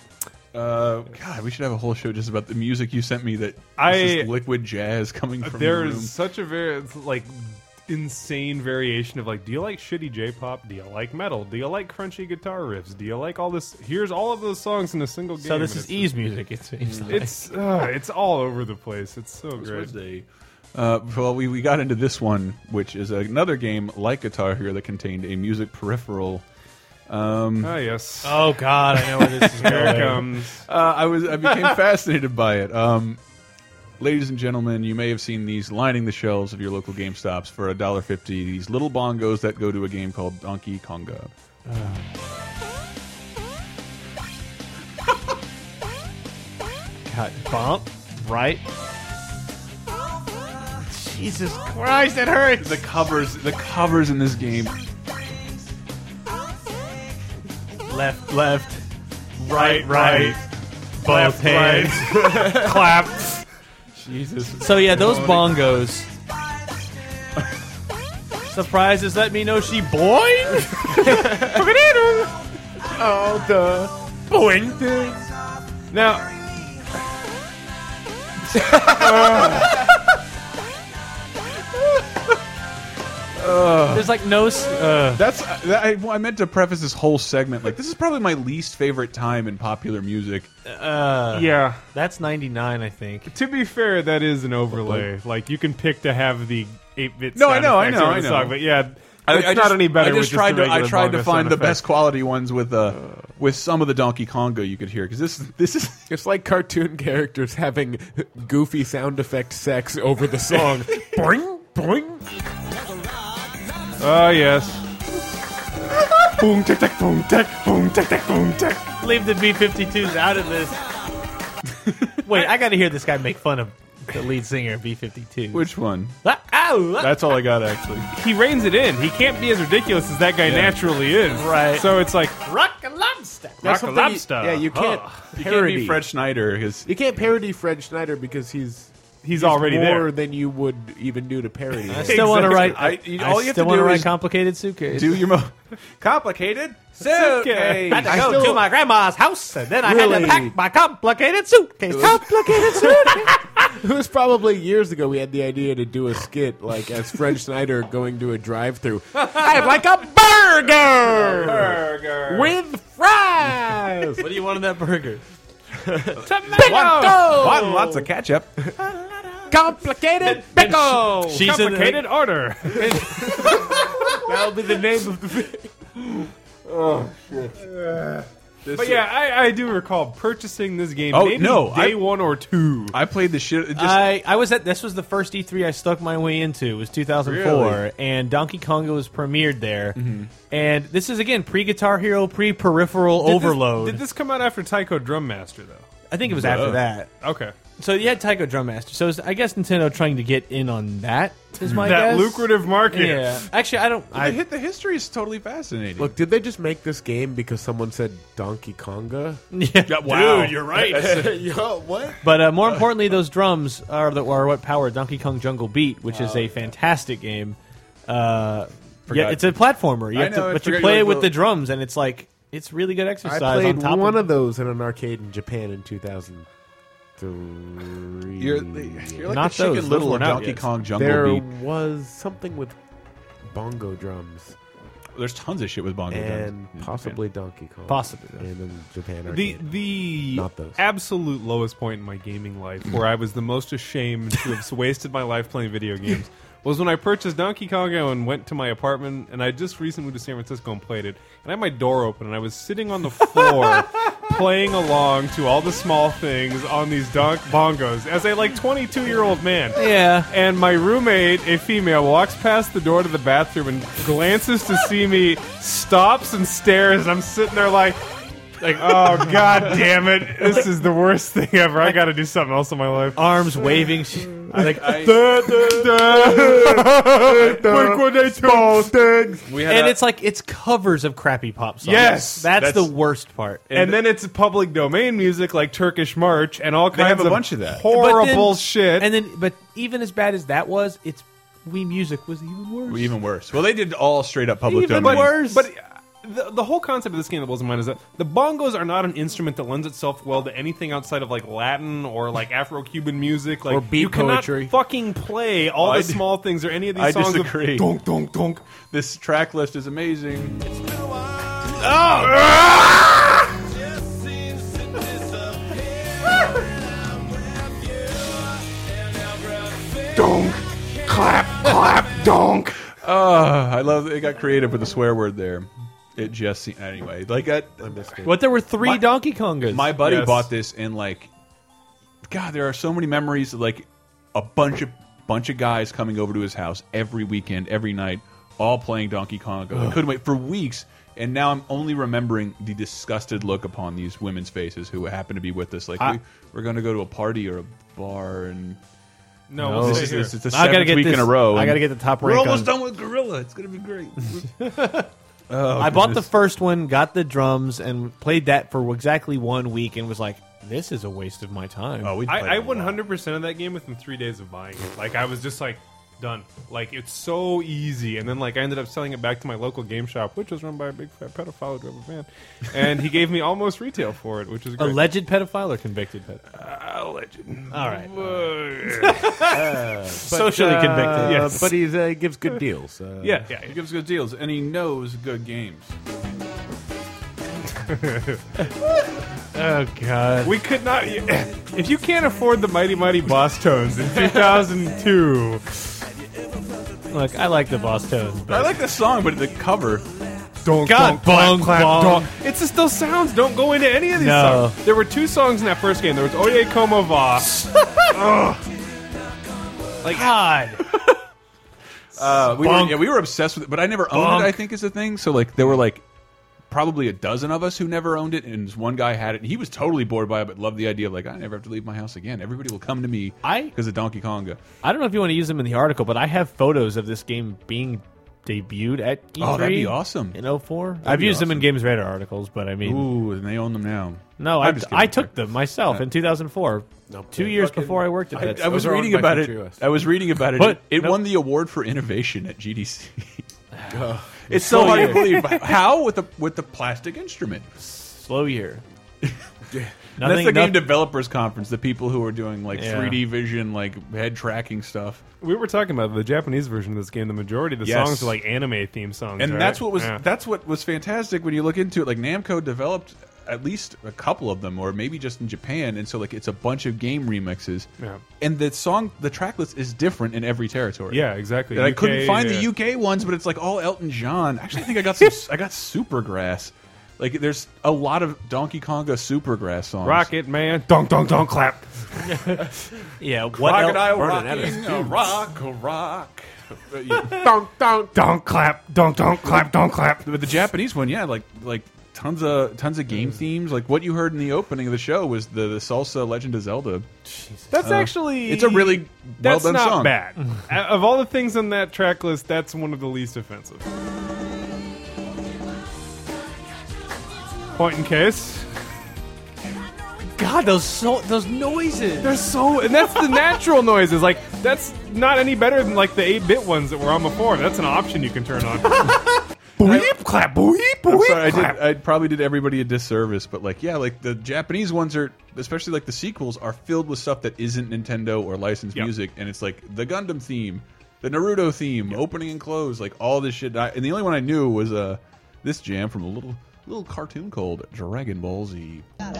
Uh, God, we should have a whole show just about the music you sent me. That I- it's just liquid jazz coming from the There's room. such a very like insane variation of like, do you like shitty J-pop? Do you like metal? Do you like crunchy guitar riffs? Do you like all this? Here's all of those songs in a single game. So this and is it's E's music. It seems. like. It's uh, it's all over the place. It's so This great. was a- Uh, well, we, we got into this one, which is another game like Guitar Hero that contained a music peripheral. Ah, yes. Oh God, I know where this is Here it going. comes. Uh, I was I became fascinated by it. Um, ladies and gentlemen, you may have seen these lining the shelves of your local GameStops for $1.50. These little bongos that go to a game called Donkey Konga. God, bump right. Jesus Christ, it hurts. The covers, the covers in this game. Left, left, Right, right. both hands. Clap. So yeah, those bongos. Surprises, let me know she boing. all the Now. There's like no. s- Uh, That's that, I, I meant to preface this whole segment like this is probably my least favorite time in popular music. Yeah. that's 99, I think. To be fair, that is an overlay. Like you can pick to have the eight-bit. No, I sound know, I effects know, over I the know. Song, but yeah, it's not just- any better. I just with tried to the I regular tried bongo to find sound the effects. best quality ones with uh, with some of the Donkey Konga you could hear because this this is It's like cartoon characters having goofy sound effect sex over the song. boing, boing. Oh yes. boom, tick, tick, boom, tick, boom, tick, tick, boom, tick. Leave the B-52s out of this. Wait, I gotta hear this guy make fun of the lead singer of B-52. which one? Ah, ah, That's all I got, actually. He reins it in. He can't be as ridiculous as that guy naturally is. Right. So it's like Rock and lobster. rock a something you- lobster. yeah, you can't Huh. You can't parody. be Fred Schneider. His You can't parody Fred Schneider because he's He's already more there. than you would even do to parody. I him. still want to write. I- I, you- all you have to still want do to write is complicated suitcase. do your mo complicated Suitcase. I had to go still- to my grandma's house, and then I had Really? to pack my complicated suitcase. Complicated suitcase. It was probably years ago we had the idea to do a skit like as Fred Schneider going to a drive-through. I'd like a burger Burger. with fries. what do you want in that burger? Oh. Pickle. One, lots of ketchup. Complicated pickle. She's in the- Complicated order. That'll be the name of the. But yeah, I, I do recall purchasing this game. Oh, maybe no, day I- one or two. I played the shit. it Just, I, I was at this was the first E3 I stuck my way into was 2004 and Donkey Kong was premiered there Mm-hmm. and this is again pre Guitar Hero pre Peripheral Did this- Overload did this come out after Tycho Drum Master though? I think it was after that Okay. so you had Tycho Drum Master so it was- I guess Nintendo trying to get in on that is my That guess. lucrative market. yeah actually I don't I I, hit the history is totally fascinating. Look, did they just make this game because someone said Donkey Konga? Yeah, wow. Dude, you're right. Yo, what? but uh, more importantly those drums are the are what powered Donkey Kong Jungle Beat which is a fantastic game uh, yeah Oh, Forgot. it's a platformer you I have to- know, I but you forgot you play had it with the- the drums and it's like it's really good I exercise. played on top one of of those in an arcade in Japan in 2003. You're, the- you're like Not the chicken those. Those little of weren't out Donkey yet. Kong Jungle there Beat. was something with bongo drums There's tons of shit with bongo and drums. possibly Donkey Kong. Possibly, yeah. And then Japan the arcade. the Not those. absolute lowest point in my gaming life, where I was the most ashamed to have wasted my life playing video games, was when I purchased Donkey Kong and went to my apartment, and I just recently moved to San Francisco and played it, and I had my door open, and I was sitting on the floor playing along to all the small things on these donk bongos as a like 22 year old man. Yeah. And my roommate, a female, walks past the door to the bathroom and glances to see me, stops and stares. And I'm sitting there like, like, oh god damn it! This is the worst thing ever. I got to do something else in my life. arms waving. She, like, Da, da, da. Blink 182. We had and a- it's like it's covers of crappy pop songs. Yes! that's, That's- the worst part. and then it's public domain music like Turkish March and all kinds have a of bunch of that. But then- horrible shit. And then, but even as bad as that was, it's Wii Music was even worse. even worse. Well, they did all straight up public Even domain. worse. But uh, the, the whole concept of this game that blows my mind is that the bongos are not an instrument that lends itself well to anything outside of like Latin or like Afro-Cuban music. Like Or beat you cannot poetry. fucking play all I the di- small things or any of these I songs. disagree. Of, donk donk donk. This track list is amazing. Ah! Donk. Clap, clap, donk. Uh, I love they got creative with the swear word there. It just se- anyway, like that. what there were three My- Donkey Kongas. My buddy Yes. bought this and like, God, there are so many memories of like a bunch of bunch of guys coming over to his house every weekend, every night, all playing Donkey Kong. I couldn't wait for weeks, and now I'm only remembering the disgusted look upon these women's faces who happen to be with us. Like we, we're going to go to a party or a bar, and No, we'll this stay is here. this is the Oh. I gotta seventh get week this, in a row. I and gotta get the top We're rank. almost on- done with Gorilla. It's gonna be great. I bought the first one, got the drums, and played that for exactly one week, and was like, "This is a waste of my time." Oh, we I, I 100% of that game within three days of buying it. Like, I was just like, done. Like, it's so easy. And then, like, I ended up selling it back to my local game shop, which was run by a big fat pedophile who drove a van. And he gave me almost retail for it, which is great. Uh, Alleged pedophile or convicted pedophile? All right, socially convicted. Uh, Yes. But he uh, gives good deals. Uh, yeah, yeah. He gives good deals, and he knows good games. Oh god. We could not. If you can't afford the Mighty Mighty Boss Tones in 2002, Look, I like the boss tones, I but like the song, but the cover. don't God, bong, bong. It's just those sounds don't go into any of these No. songs. There were two songs in that first game. There was Oye Como Va. like God. Uh, we were, Bonk. Uh, yeah, we were obsessed with it, but I never owned Bonk. it. I think is the thing. So like, there were like probably a dozen of us who never owned it, and this one guy had it, and he was totally bored by it, but loved the idea of like I never have to leave my house again. Everybody will come to me I- E because of Donkey Konga. I don't know if you want to use them in the article, but I have photos of this game being debuted at E3 Oh, that'd be awesome. in 4 I've used them in Games Radar articles, but I mean, Ooh, and they own them now. no, I'm I, just kidding. I took them myself in 2004, two years before I worked at that. I, I was are owned reading by about it. Future US. I was reading about it. But- it no. won the award for innovation at GDC. it's so hard to believe. How with the with the plastic instrument? slow year. And That's Nothing, the game noth- developers conference. The people who are doing like Yeah. 3D vision, like head tracking stuff, We were talking about the Japanese version of this game. The majority of the Yes. songs are like anime theme songs, and right? that's what was Yeah. that's what was fantastic when you look into it. Like Namco developed at least a couple of them, or maybe just in Japan, and so like it's a bunch of game remixes. Yeah. And the song, the track list is different in every territory. Yeah, exactly. uh, And I UK, couldn't find yeah. the UK ones, but it's like all Elton John. Actually, I think I got some. I got Supergrass. Like there's a lot of Donkey Konga Supergrass songs. Rocket Man, donk donk donk clap. yeah, what el- rocking a rock a rock. Donk, donk. Don't clap, don't don't clap, don't clap. But the Japanese one, yeah, like like tons of tons of game themes. Like what you heard in the opening of the show was the, the salsa Legend of Zelda. That's actually Uh, It's a really well that's done not song. bad. Uh, of all the things on that track list, that's one of the least offensive. Point in case. God, those so- those noises. They're so, and that's the natural noises. Like that's not any better than like the eight-bit ones that were on before. That's an option you can turn on. Boop clap, boop, I'm boop sorry, I did. clap. I probably did everybody a disservice, but like, yeah, like the Japanese ones are, especially like the sequels, are filled with stuff that isn't Nintendo or licensed Yep. music, and it's like the Gundam theme, the Naruto theme, opening and close, like all this shit. I, and the only one I knew was uh, this jam from a little little cartoon called Dragon Ball Z. God.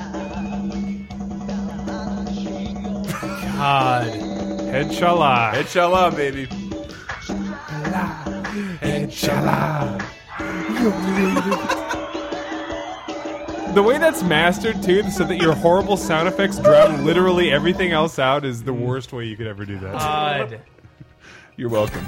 Head shala. Inshallah, baby. The way that's mastered too, so that your horrible sound effects drown literally everything else out, is the worst way you could ever do that. God. You're welcome.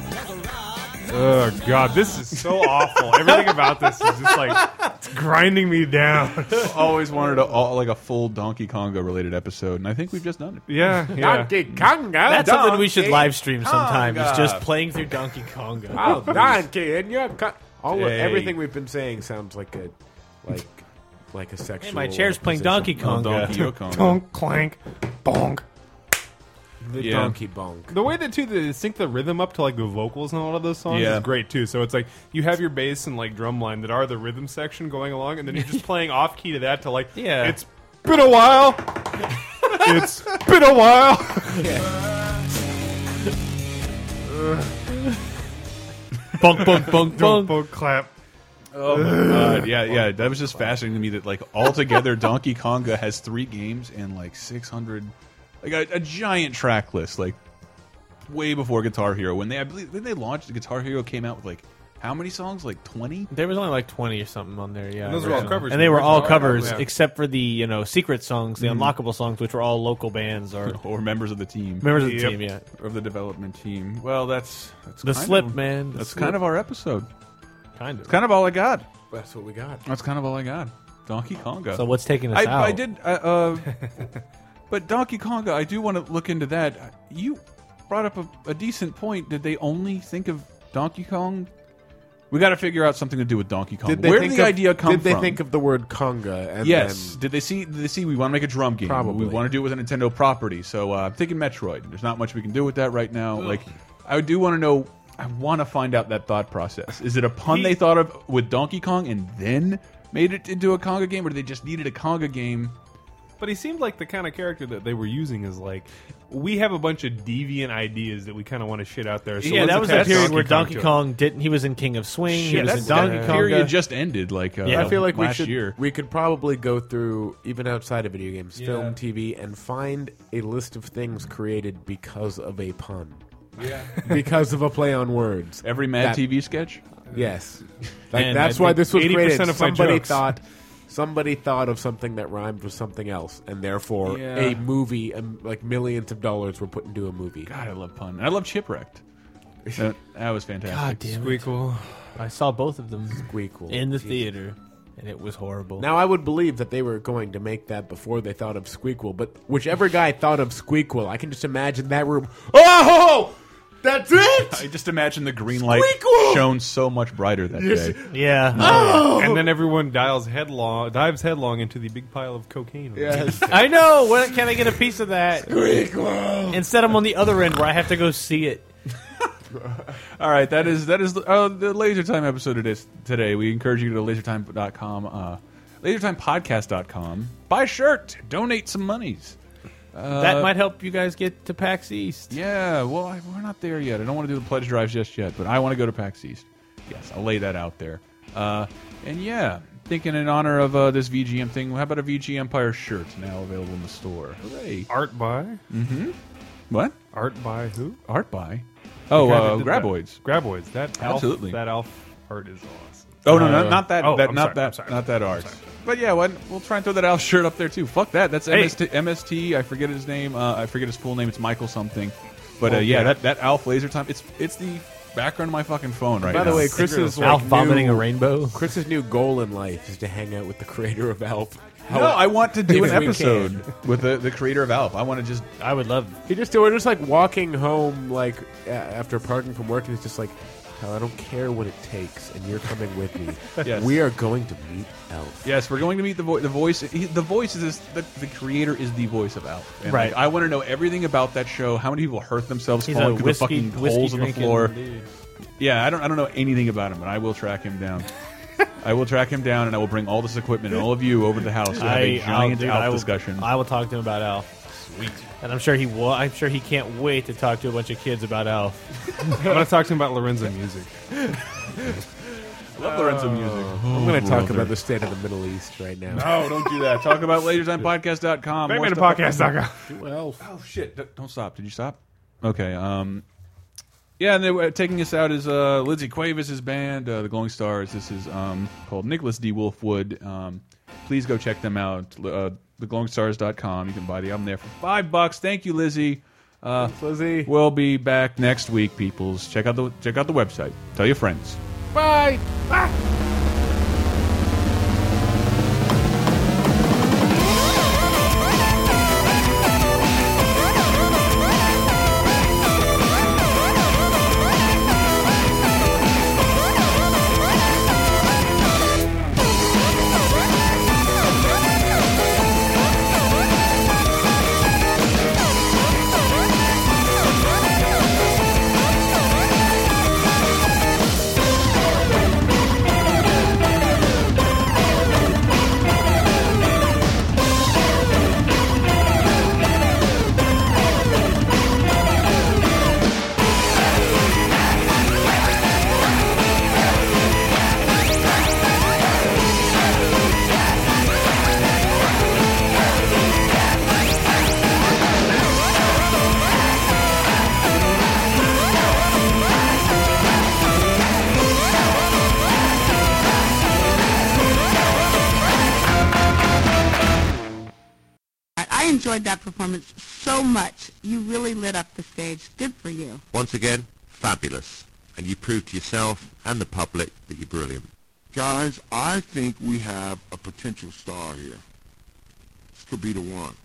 Oh god, this is so awful. Everything about this is just like it's grinding me down. Always wanted a, all, like a full Donkey Konga related episode, and I think we've just done it. Yeah, yeah. Donkey Konga. That's something we should Donkey live stream sometime. It's Konga. just playing through Donkey Konga. Oh, Donkey, and you have con- all of- Hey. everything we've been saying sounds like a like like a sexual. my chair's playing Donkey representation. Konga. Donkey Konga. Donk clank, bonk. The Yeah. Donkey Bonk. The way that too they sync the rhythm up to like the vocals and all of those songs Yeah. is great too. So it's like you have your bass and like drum line that are the rhythm section going along, and then you're just playing off key to that to like Yeah. It's been a while. it's been a while. bunk, bunk, bunk, Don't bunk. both clap. God, yeah, yeah. That was just fascinating to me that like altogether Donkey Konga has three games and like six hundred, like a, a giant track list, like way before Guitar Hero. When they I believe when they launched Guitar Hero came out with like how many songs? Like twenty. There was only like twenty or something on there, yeah. And those were all originally. covers. and they were all covers Yeah. except for the you know secret songs, the unlockable songs, which were all local bands or Or members of the team, members of the Yep. team. Yeah, of the development team. Well, that's that's the kind Slip of- man. The That's Slip. kind of our episode. kind of. Kind of all I got. That's what we got. That's kind of all I got. Donkey Konga. So what's taking us I, out? I did. Uh, uh, but Donkey Konga, I do want to look into that. You brought up a, a decent point. Did they only think of Donkey Kong? We got to figure out something to do with Donkey Kong. Where did think the of- idea come Did they from? think of the word Konga? And yes. Then, Did they see? Did they see? We want to make a drum game. We Probably. want to do it with a Nintendo property. So uh, I'm thinking Metroid. There's not much we can do with that right now. Like, I do want to know. I want to find out that thought process. Is it a pun they thought of with Donkey Kong and then made it into a Konga game, or they just needed a Konga game? But he seemed like the kind of character that they were using is like, we have a bunch of deviant ideas that we kind of want to shit out there. So yeah, let's that was the attach period where to Donkey it. Kong didn't. He was in King of Swing. he Yeah, was that's in Donkey that Kong. period just ended. Like uh, Yeah. I feel like we last should. year. We could probably go through even outside of video games, film, TV, and find a list of things created because of a pun. Yeah. because of a play on words. Every Mad That- TV sketch. Yes, like And that's I why think this was 80% created. of my somebody jokes. thought, somebody thought of something that rhymed with something else, and therefore Yeah. a movie, um, like millions of dollars, were put into a movie. God, I love pun. And I love Chipwrecked. that, that was fantastic. God damn it! Squeakle. I saw both of them Squeakle. in the theater. and it was horrible. Now I would believe that they were going to make that before they thought of Squeakquel, but whichever guy thought of Squeakquel, I can just imagine that room. Oh, that's I it. just imagine the green light Squeakquel! shone so much brighter that day. yeah, And then everyone dials headlong, dives headlong into the big pile of cocaine. Yes. I know. What, can I get a piece of that? Squeakquel. Instead, I'm on the other end where I have to go see it. All right, that is that is uh, the Laser Time episode of this today. We encourage you to go to lasertime.com, uh, lasertimepodcast.com. Buy a shirt, donate some monies. Uh, that might help you guys get to PAX East. Yeah, well, I, we're not there yet. I don't want to do the pledge drives just yet, but I want to go to PAX East. Yes, I'll lay that out there. Uh, and yeah, thinking in honor of uh, this VGM thing, how about a VG Empire shirt now available in the store? Hooray! Art by? What Art by who? art buy? Oh, Guy that uh, did Graboids. that. Graboids. That Alf, Absolutely. That Alf art is awesome. Oh no, Uh, no, not that, oh, that I'm not sorry, that, I'm sorry, not I'm that sorry, art. I'm sorry. But yeah, why- we'll try and throw that Alf shirt up there too. Fuck that. That's Hey. MST, MST. I forget his name. Uh, I forget his full name. It's Michael something. But uh, Oh, yeah, yeah. that that Alf laser time. It's it's the background of my fucking phone right By now. the way, Chris's like, Alf vomiting new, a rainbow. Chris's new goal in life is to hang out with the creator of Alf. no, I want to do If an we can. episode with the, the creator of Alf. I want to just I would love. He just we're just like walking home, like a- after parking from work, and he's just like, "Hell, I don't care what it takes, and you're coming with me. Yes. We are going to meet Elf." yes, we're going to meet the vo the voice. He, the voice is the, the creator is the voice of Alf. And, Right. like, I want to know everything about that show. How many people hurt themselves He's a falling through whiskey, the fucking whiskey holes in the drinking floor? dude. Yeah, I don't. I don't know anything about him, but I will track him down. I will track him down, and I will bring all this equipment and all of you over to the house to have a I, I'll, giant dude, Alf I will, discussion. I will talk to him about Alf. Sweet. And I'm sure he will. I'm sure he can't wait to talk to a bunch of kids about Alf. I'm going to talk to him about Lorenzo music. love Lorenzo music. Uh, I'm going to talk about the state of the Middle East right now. Oh, don't do that. Talk about lasertimepodcast.com. More stuff- BangmanPodcast.com. Oh shit! D- Don't stop. Did you stop? Okay. Um. Yeah, and they were taking us out is uh, Lizzie Cuevas' band, uh, the Glowing Stars. This is um, called Nicholas D. Wolfwood. Um, please go check them out. L- Uh, theglowingstars.com. You can buy the album there for five bucks. Thank you, Lizzie. Uh, Lizzie. We'll be back next week, peoples. Check out the check out the website. Tell your friends. I- I enjoyed that performance so much. You really lit up the stage. Good for you. Once again, fabulous. And you proved to yourself and the public that you're brilliant. Guys, I think we have a potential star here. This could be the one.